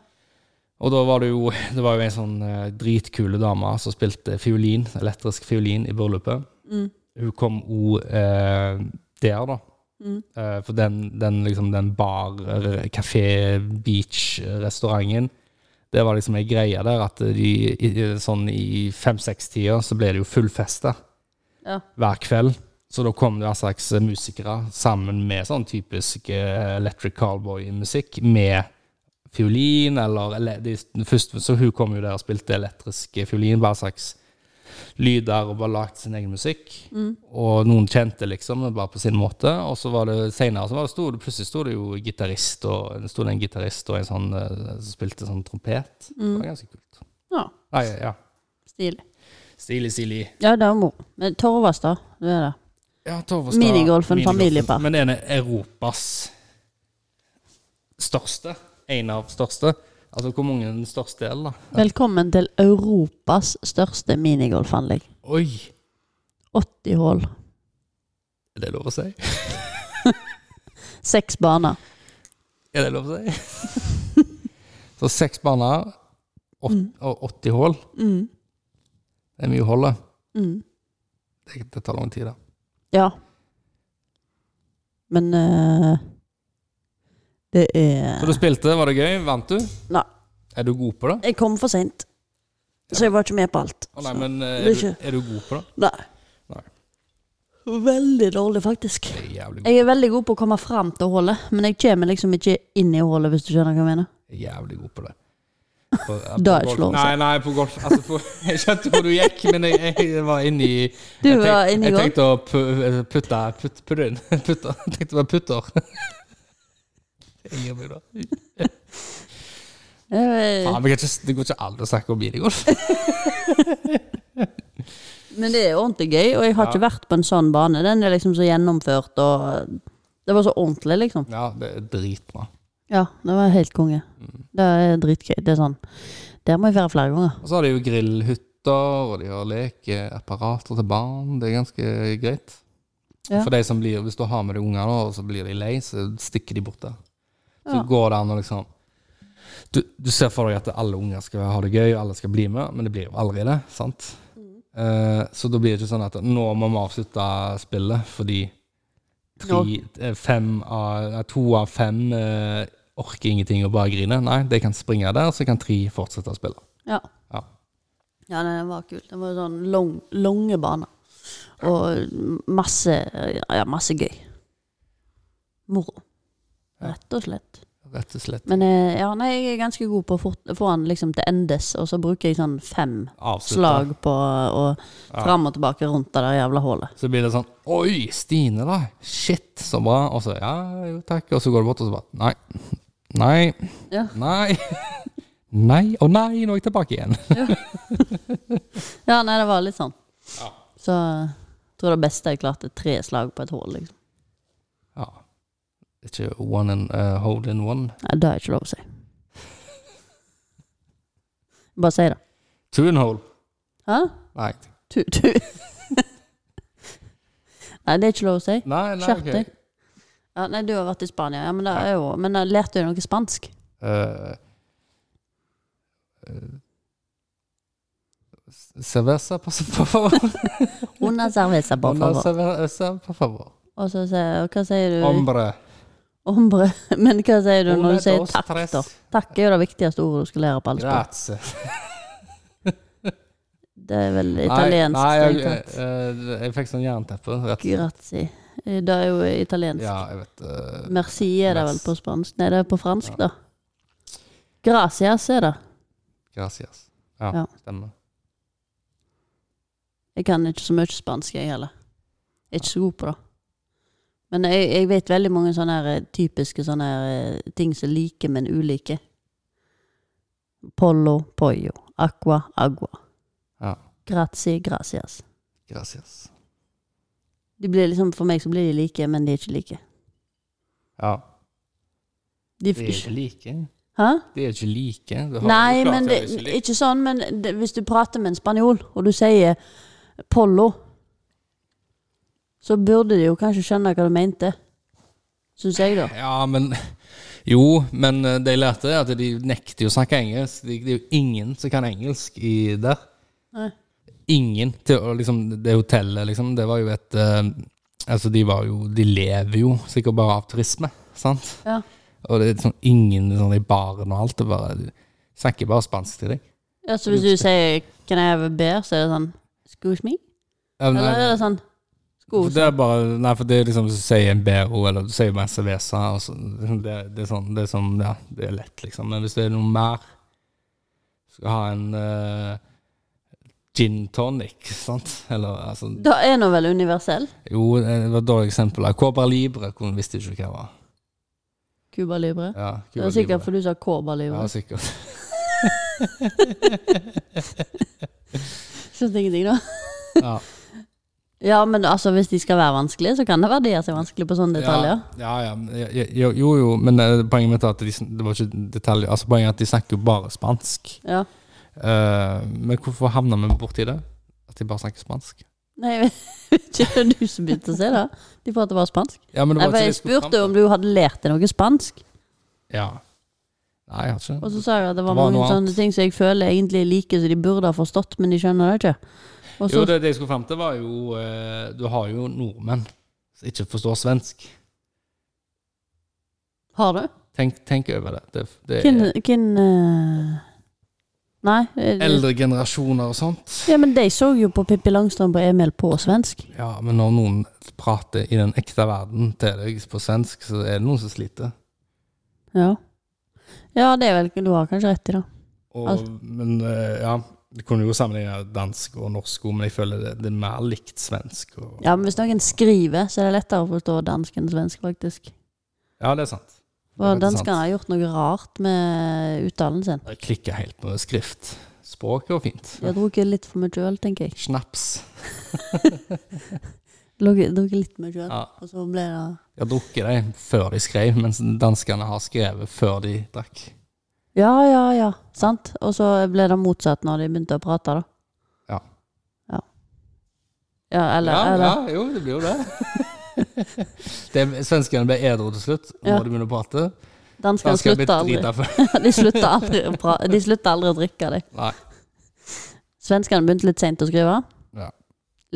Speaker 2: Og da var det jo [laughs] Det var jo en sånn eh, dritkule dame som spilte fiolin, elektrisk fiolin, i bryllupet. Hun kom òg eh, der, da. Eh, for den, den, liksom, den bar, eh, eller kafé, beach-restauranten eh, Det var liksom ei greie der at de, i, i- sånn i fem-seks-tida så ble det jo fullfesta
Speaker 1: Ja.
Speaker 2: hver kveld. Så da kom det en slags musikere sammen med sånn typisk eh, electric cowboy-musikk, med fiolin eller, eller de, først, Så hun kom jo der og spilte elektrisk fiolin, bare en slags lyder og bare lagd sin egen musikk. Og noen kjente liksom det bare på sin måte. Og så var det senere så var det sto det, plutselig sto det jo gitarist, og det sto det en gitarist og en sånn eh, som spilte sånn trompet. Det var ganske kult.
Speaker 1: ja.
Speaker 2: Nei, ja.
Speaker 1: Stilig.
Speaker 2: Stilig, stilig.
Speaker 1: Ja, det var moro. Men Torvastad, det er det.
Speaker 2: Ja, Torvastad.
Speaker 1: Minigolfen, familiepar.
Speaker 2: Men den er Europas største. En av største. Altså hvor mange den største er, da?
Speaker 1: Velkommen til Europas største minigolfanlegg.
Speaker 2: Oi!
Speaker 1: 80 hull,
Speaker 2: Er det lov å si?
Speaker 1: seks baner.
Speaker 2: Er det lov å si? [laughs] Så seks baner åt,
Speaker 1: Mm.
Speaker 2: og 80 hull. Det er mye hull, det. det. Det tar lang tid, da.
Speaker 1: Mm. Ja. Men eh, det er
Speaker 2: Så du spilte, var det gøy? Vant du?
Speaker 1: Nei,
Speaker 2: Er du god på det?
Speaker 1: jeg kom for seint. Så jeg var ikke med på alt.
Speaker 2: Å nei, men eh,
Speaker 1: det
Speaker 2: er
Speaker 1: er
Speaker 2: du, er du god på det?
Speaker 1: Nei.
Speaker 2: Nei.
Speaker 1: Veldig dårlig, faktisk.
Speaker 2: Det er jævlig god.
Speaker 1: Jeg er veldig god på å komme fram til hullet, men jeg kommer liksom ikke inn i hullet, hvis du skjønner hva jeg mener.
Speaker 2: Jeg er Jævlig god på det. På, på
Speaker 1: Da er det
Speaker 2: golf-
Speaker 1: slå seg.
Speaker 2: Nei, nei, på golf. Altså, på, [laughs] jeg skjønte hvor du gikk, men jeg, jeg var inni
Speaker 1: Du
Speaker 2: jeg
Speaker 1: var inni
Speaker 2: Jeg
Speaker 1: golf.
Speaker 2: tenkte å pu- eh, putte putt, putte inn. [laughs] Putte. Jeg tenkte det var putter. [laughs] Jeg gir meg da.
Speaker 1: Eh,
Speaker 2: Faen, vi kan ikke, det går ikke an å snakke om minigolf. [laughs]
Speaker 1: Men det er jo ordentlig gøy, og jeg har ikke vært på en sånn bane. Den er liksom så gjennomført, og det var så ordentlig, liksom.
Speaker 2: Ja, det er dritbra.
Speaker 1: Ja, det var
Speaker 2: Mm.
Speaker 1: helt konge. Det er dritgøy. Det er sånn Der må jeg være flere ganger.
Speaker 2: Og så har de jo grillhytta roboter, og de har lekeapparater til barn. Det er ganske greit.
Speaker 1: Ja.
Speaker 2: For de som blir, Hvis du har med deg unger, da, og så blir de lei, så stikker de bort der. Så
Speaker 1: Ja.
Speaker 2: går det an å liksom du, du ser for deg at alle unger skal ha det gøy, og alle skal bli med, men det blir jo aldri det. sant? Eh, så da blir det ikke sånn at nå må vi avslutte spillet fordi tre, eh, fem av, nei, to av fem eh, orker ingenting og bare griner. Nei, de kan springe der, så kan tre fortsette å spille.
Speaker 1: Ja.
Speaker 2: Ja.
Speaker 1: Ja, nei, den var kul. Den var sånn lang, lange baner. Og masse, ja, masse gøy. Moro.
Speaker 2: Ja.
Speaker 1: Rett og slett.
Speaker 2: Rett og slett.
Speaker 1: Men eh, ja, nei, jeg er ganske god på å fort- få den liksom til endes, og så bruker jeg sånn fem
Speaker 2: Avslutte.
Speaker 1: slag på å fram og tilbake rundt det der jævla hullet.
Speaker 2: Så blir det sånn Oi, Stine, da. Shit, så bra. Og så ja, jo takk. Og så går det bort, og så bare Nei. Nei.
Speaker 1: Ja.
Speaker 2: Nei. [laughs] nei. Å nei, nå er jeg tilbake igjen.
Speaker 1: Ja, nei, det var litt sånn. Så jeg tror det beste jeg klarte tre slag på et hull, liksom.
Speaker 2: ja. Ikke one and eh, hold in one.
Speaker 1: Nei, det er ikke lov å si. Bare si det.
Speaker 2: Two and hold.
Speaker 1: Hæ?
Speaker 2: Nei.
Speaker 1: Tu, tu. [laughs] nei, det er ikke lov å si.
Speaker 2: Nei, nei,
Speaker 1: Skjerp
Speaker 2: ok.
Speaker 1: deg. Ja, nei, du har vært i Spania, ja, men, det er jo, men da lærte du noe spansk?
Speaker 2: Eh, eh, Cerveza, por favor.
Speaker 1: Una cerveza, [laughs] por
Speaker 2: Una
Speaker 1: favor.
Speaker 2: cerveza, por favor.
Speaker 1: Og så sier og Hva sier du?
Speaker 2: Hombre.
Speaker 1: Ombre. [laughs] Men hva sier du
Speaker 2: Una,
Speaker 1: når du sier
Speaker 2: dos,
Speaker 1: takk,
Speaker 2: tres.
Speaker 1: da? Takk er jo det viktigste ordet du skal lære på alle språk.
Speaker 2: Grazie.
Speaker 1: Det er vel
Speaker 2: Nei,
Speaker 1: italiensk.
Speaker 2: nei jeg,
Speaker 1: strengt
Speaker 2: jeg,
Speaker 1: tatt.
Speaker 2: eh, jeg fikk sånn jernteppe. Rett.
Speaker 1: Grazie. Det er jo italiensk.
Speaker 2: Ja, jeg vet eh,
Speaker 1: Merci er det vel
Speaker 2: Merci.
Speaker 1: på spansk. Nei, det er på fransk, da. Gracias er det.
Speaker 2: Gracias. Ja,
Speaker 1: Ja.
Speaker 2: stemmer.
Speaker 1: Jeg kan ikke så mye spansk, jeg heller. Jeg er ikke så god på det. Men jeg, jeg vet veldig mange sånne her, eh, typiske sånne her, eh, ting som er like, men ulike. Pollo, pollo. Aqua, agua.
Speaker 2: Ja.
Speaker 1: Grazie, gracias.
Speaker 2: Gracias.
Speaker 1: De blir liksom, for meg så blir de like, men de er ikke like.
Speaker 2: Ja.
Speaker 1: De,
Speaker 2: De er ikke like.
Speaker 1: Hæ?
Speaker 2: De er ikke like. Du har-
Speaker 1: Nei,
Speaker 2: du klarte
Speaker 1: men det,
Speaker 2: jo ikke like.
Speaker 1: ikke sånn, men det, hvis du prater med en spanjol, og du sier pollo, så burde de jo kanskje skjønne hva du mente. Syns jeg, da.
Speaker 2: Ja, men [laughs] Jo, men eh, de lærte at de nekter jo å snakke engelsk. Det det er jo ingen som kan engelsk i der.
Speaker 1: Nei.
Speaker 2: Ingen. Til, å liksom, det hotellet, liksom, det var jo et eh, Altså, de var jo De lever jo sikkert bare av turisme, sant?
Speaker 1: Ja.
Speaker 2: Og det er sånn ingen sånn i baren og alt. Det bare de snakker bare spansk til deg.
Speaker 1: Ja, så hvis du sier 'Can I have a beer', så er det sånn 'Excuse me'?
Speaker 2: Ja, men, eh,
Speaker 1: Eller er det
Speaker 2: nei,
Speaker 1: sånn
Speaker 2: for
Speaker 1: 'Skos'?
Speaker 2: det er bare Nei, for det er liksom Hvis du sier en BO, eller du sier bare en cerveza, og så, det, det er sånn Det er sånn Ja, det er lett, liksom. Men hvis det er noe mer Skal ha en eh, gin tonic, [laughs] sant? Eller altså
Speaker 1: Da er nå vel universell?
Speaker 2: Jo, eh, det var et dårlig eksempel. Cobra Libre kunne visste ikke hva det var.
Speaker 1: Cuba Libre?
Speaker 2: Ja,
Speaker 1: Det
Speaker 2: Cuba
Speaker 1: er sikkert
Speaker 2: Libre.
Speaker 1: for du sa Cuba Libre.
Speaker 2: Ja,
Speaker 1: [laughs]
Speaker 2: altså. sikkert. [laughs]
Speaker 1: Skjønte ingenting, da.
Speaker 2: Ja.
Speaker 1: Ja, men altså, hvis de skal være vanskelige, så kan det være de er så vanskelige på sånne detaljer.
Speaker 2: Ja, ja, ja, men- ja, jo, jo, jo, men eh, poenget mitt er at de, sn- det var ikke detaljer. Altså, poenget er at de snakker jo bare spansk.
Speaker 1: Ja.
Speaker 2: Eh, men hvorfor havna vi borti det? At de bare snakker spansk?
Speaker 1: Nei, jeg vet [laughs] ikke det er du som begynte å si det. De prater bare spansk.
Speaker 2: Ja, men det
Speaker 1: Nei,
Speaker 2: var
Speaker 1: for
Speaker 2: ikke
Speaker 1: jeg
Speaker 2: det skulle
Speaker 1: spurte
Speaker 2: fram
Speaker 1: om du hadde lært deg noe spansk,
Speaker 2: til. Ja. Nei, jeg har ikke
Speaker 1: og så sa jeg at det var
Speaker 2: Det var
Speaker 1: mange
Speaker 2: noe
Speaker 1: sånne
Speaker 2: annet.
Speaker 1: ting som jeg føler egentlig er like, som de burde ha forstått, men de skjønner det ikke. Og
Speaker 2: Jo,
Speaker 1: så
Speaker 2: det, det jeg skulle fram til, var jo eh, Du har jo nordmenn som ikke forstår svensk.
Speaker 1: har du.
Speaker 2: Tenk, tenk over det. det, det
Speaker 1: Hvem,
Speaker 2: er
Speaker 1: hvem eh, Nei. eh,
Speaker 2: eldre generasjoner og sånt.
Speaker 1: Ja, men de så jo på Pippi Langstrømpe og Emil på svensk.
Speaker 2: Ja, men når noen prater i den ekte verden til deg på svensk, så er det noen som sliter.
Speaker 1: Ja. Ja, det er vel Du har kanskje rett i det.
Speaker 2: Og,
Speaker 1: Alt.
Speaker 2: Men eh, ja, du kunne jo sammenligne dansk og norsk, også, men jeg føler det, det er mer likt svensk. Og,
Speaker 1: Ja, men hvis noen skriver, så er det lettere å forstå dansk enn svensk, faktisk.
Speaker 2: ja, det er sant. Det er
Speaker 1: For
Speaker 2: faktisk sant.
Speaker 1: danskene har gjort noe rart med uttalen sin.
Speaker 2: Jeg klikker helt på skrift. Språket var fint.
Speaker 1: De har drukket litt for mye øl, tenker jeg.
Speaker 2: Snaps.
Speaker 1: Drukket drukket litt mye øl,
Speaker 2: Ja.
Speaker 1: og så ble det
Speaker 2: Jeg drukket dem før de skrev, mens danskene har skrevet før de drakk.
Speaker 1: Ja, ja, ja. Sant? Og så ble det motsatt når de begynte å prate, da. Ja, eller,
Speaker 2: Ja,
Speaker 1: eller.
Speaker 2: ja, jo, det blir jo
Speaker 1: [laughs]
Speaker 2: det. det Svenskene ble edru til slutt
Speaker 1: Ja.
Speaker 2: når de begynner å prate.
Speaker 1: Danskene
Speaker 2: Danskene ble
Speaker 1: slutter aldri.
Speaker 2: drita før.
Speaker 1: [laughs] de slutter aldri å pra de slutter aldri å drikke. De.
Speaker 2: Nei.
Speaker 1: Svenskene begynte litt sent å skrive.
Speaker 2: Ja.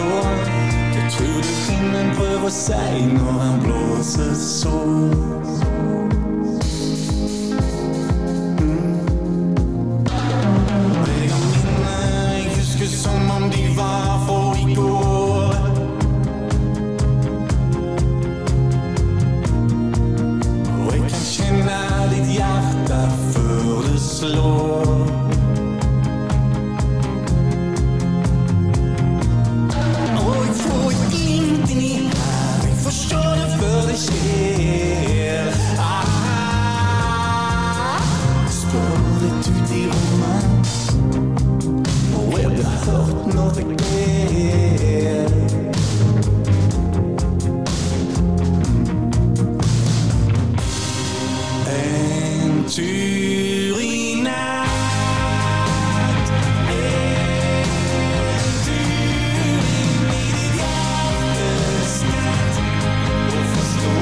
Speaker 5: da. Du tror du himmelen prøver seg når han blåser så. Mm. Jeg har minner jeg husker Som om de var for i går Og jeg kan kjenne ditt hjerte før det slår. Og jeg får ingenting i her, jeg forstår det før det skjer. Ah, spør litt ut i rommet, og jeg blir hørt når det ber. En tur i natt En tur inn i ditt hjertes nett Og forstå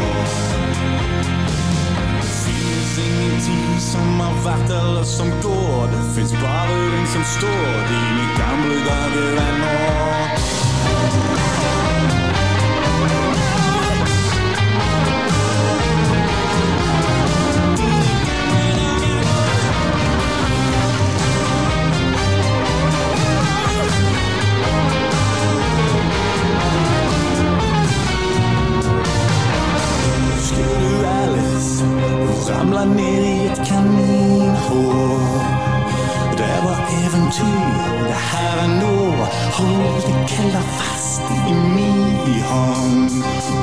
Speaker 5: Det finnes ingenting som har vært eller som går Det finnes bare den som står Dine gamle dager er nå Husker du Alice? Hun ramla ned i et kaninhår. Det var eventyr, det her er nå. Hold det kalde fast i mi hånd.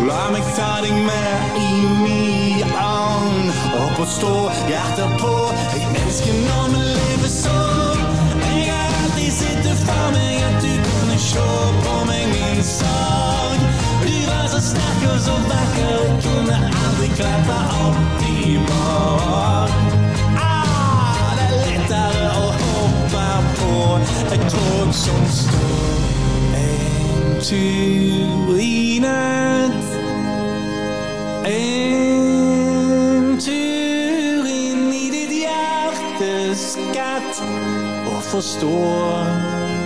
Speaker 5: La meg ta deg med i mi ånd. Opp og stå, hjertet på. Jeg elsker når vi lever sånn. Jeg har alltid sett det for meg at du kunne se på meg min sorg. Du var så sterk og så vakker, jeg kunne aldri klatre opp i bar. Ah, det er lettere å hoppe på et tog som står en tur i natt. En tur inn i ditt hjertes gatt og forstå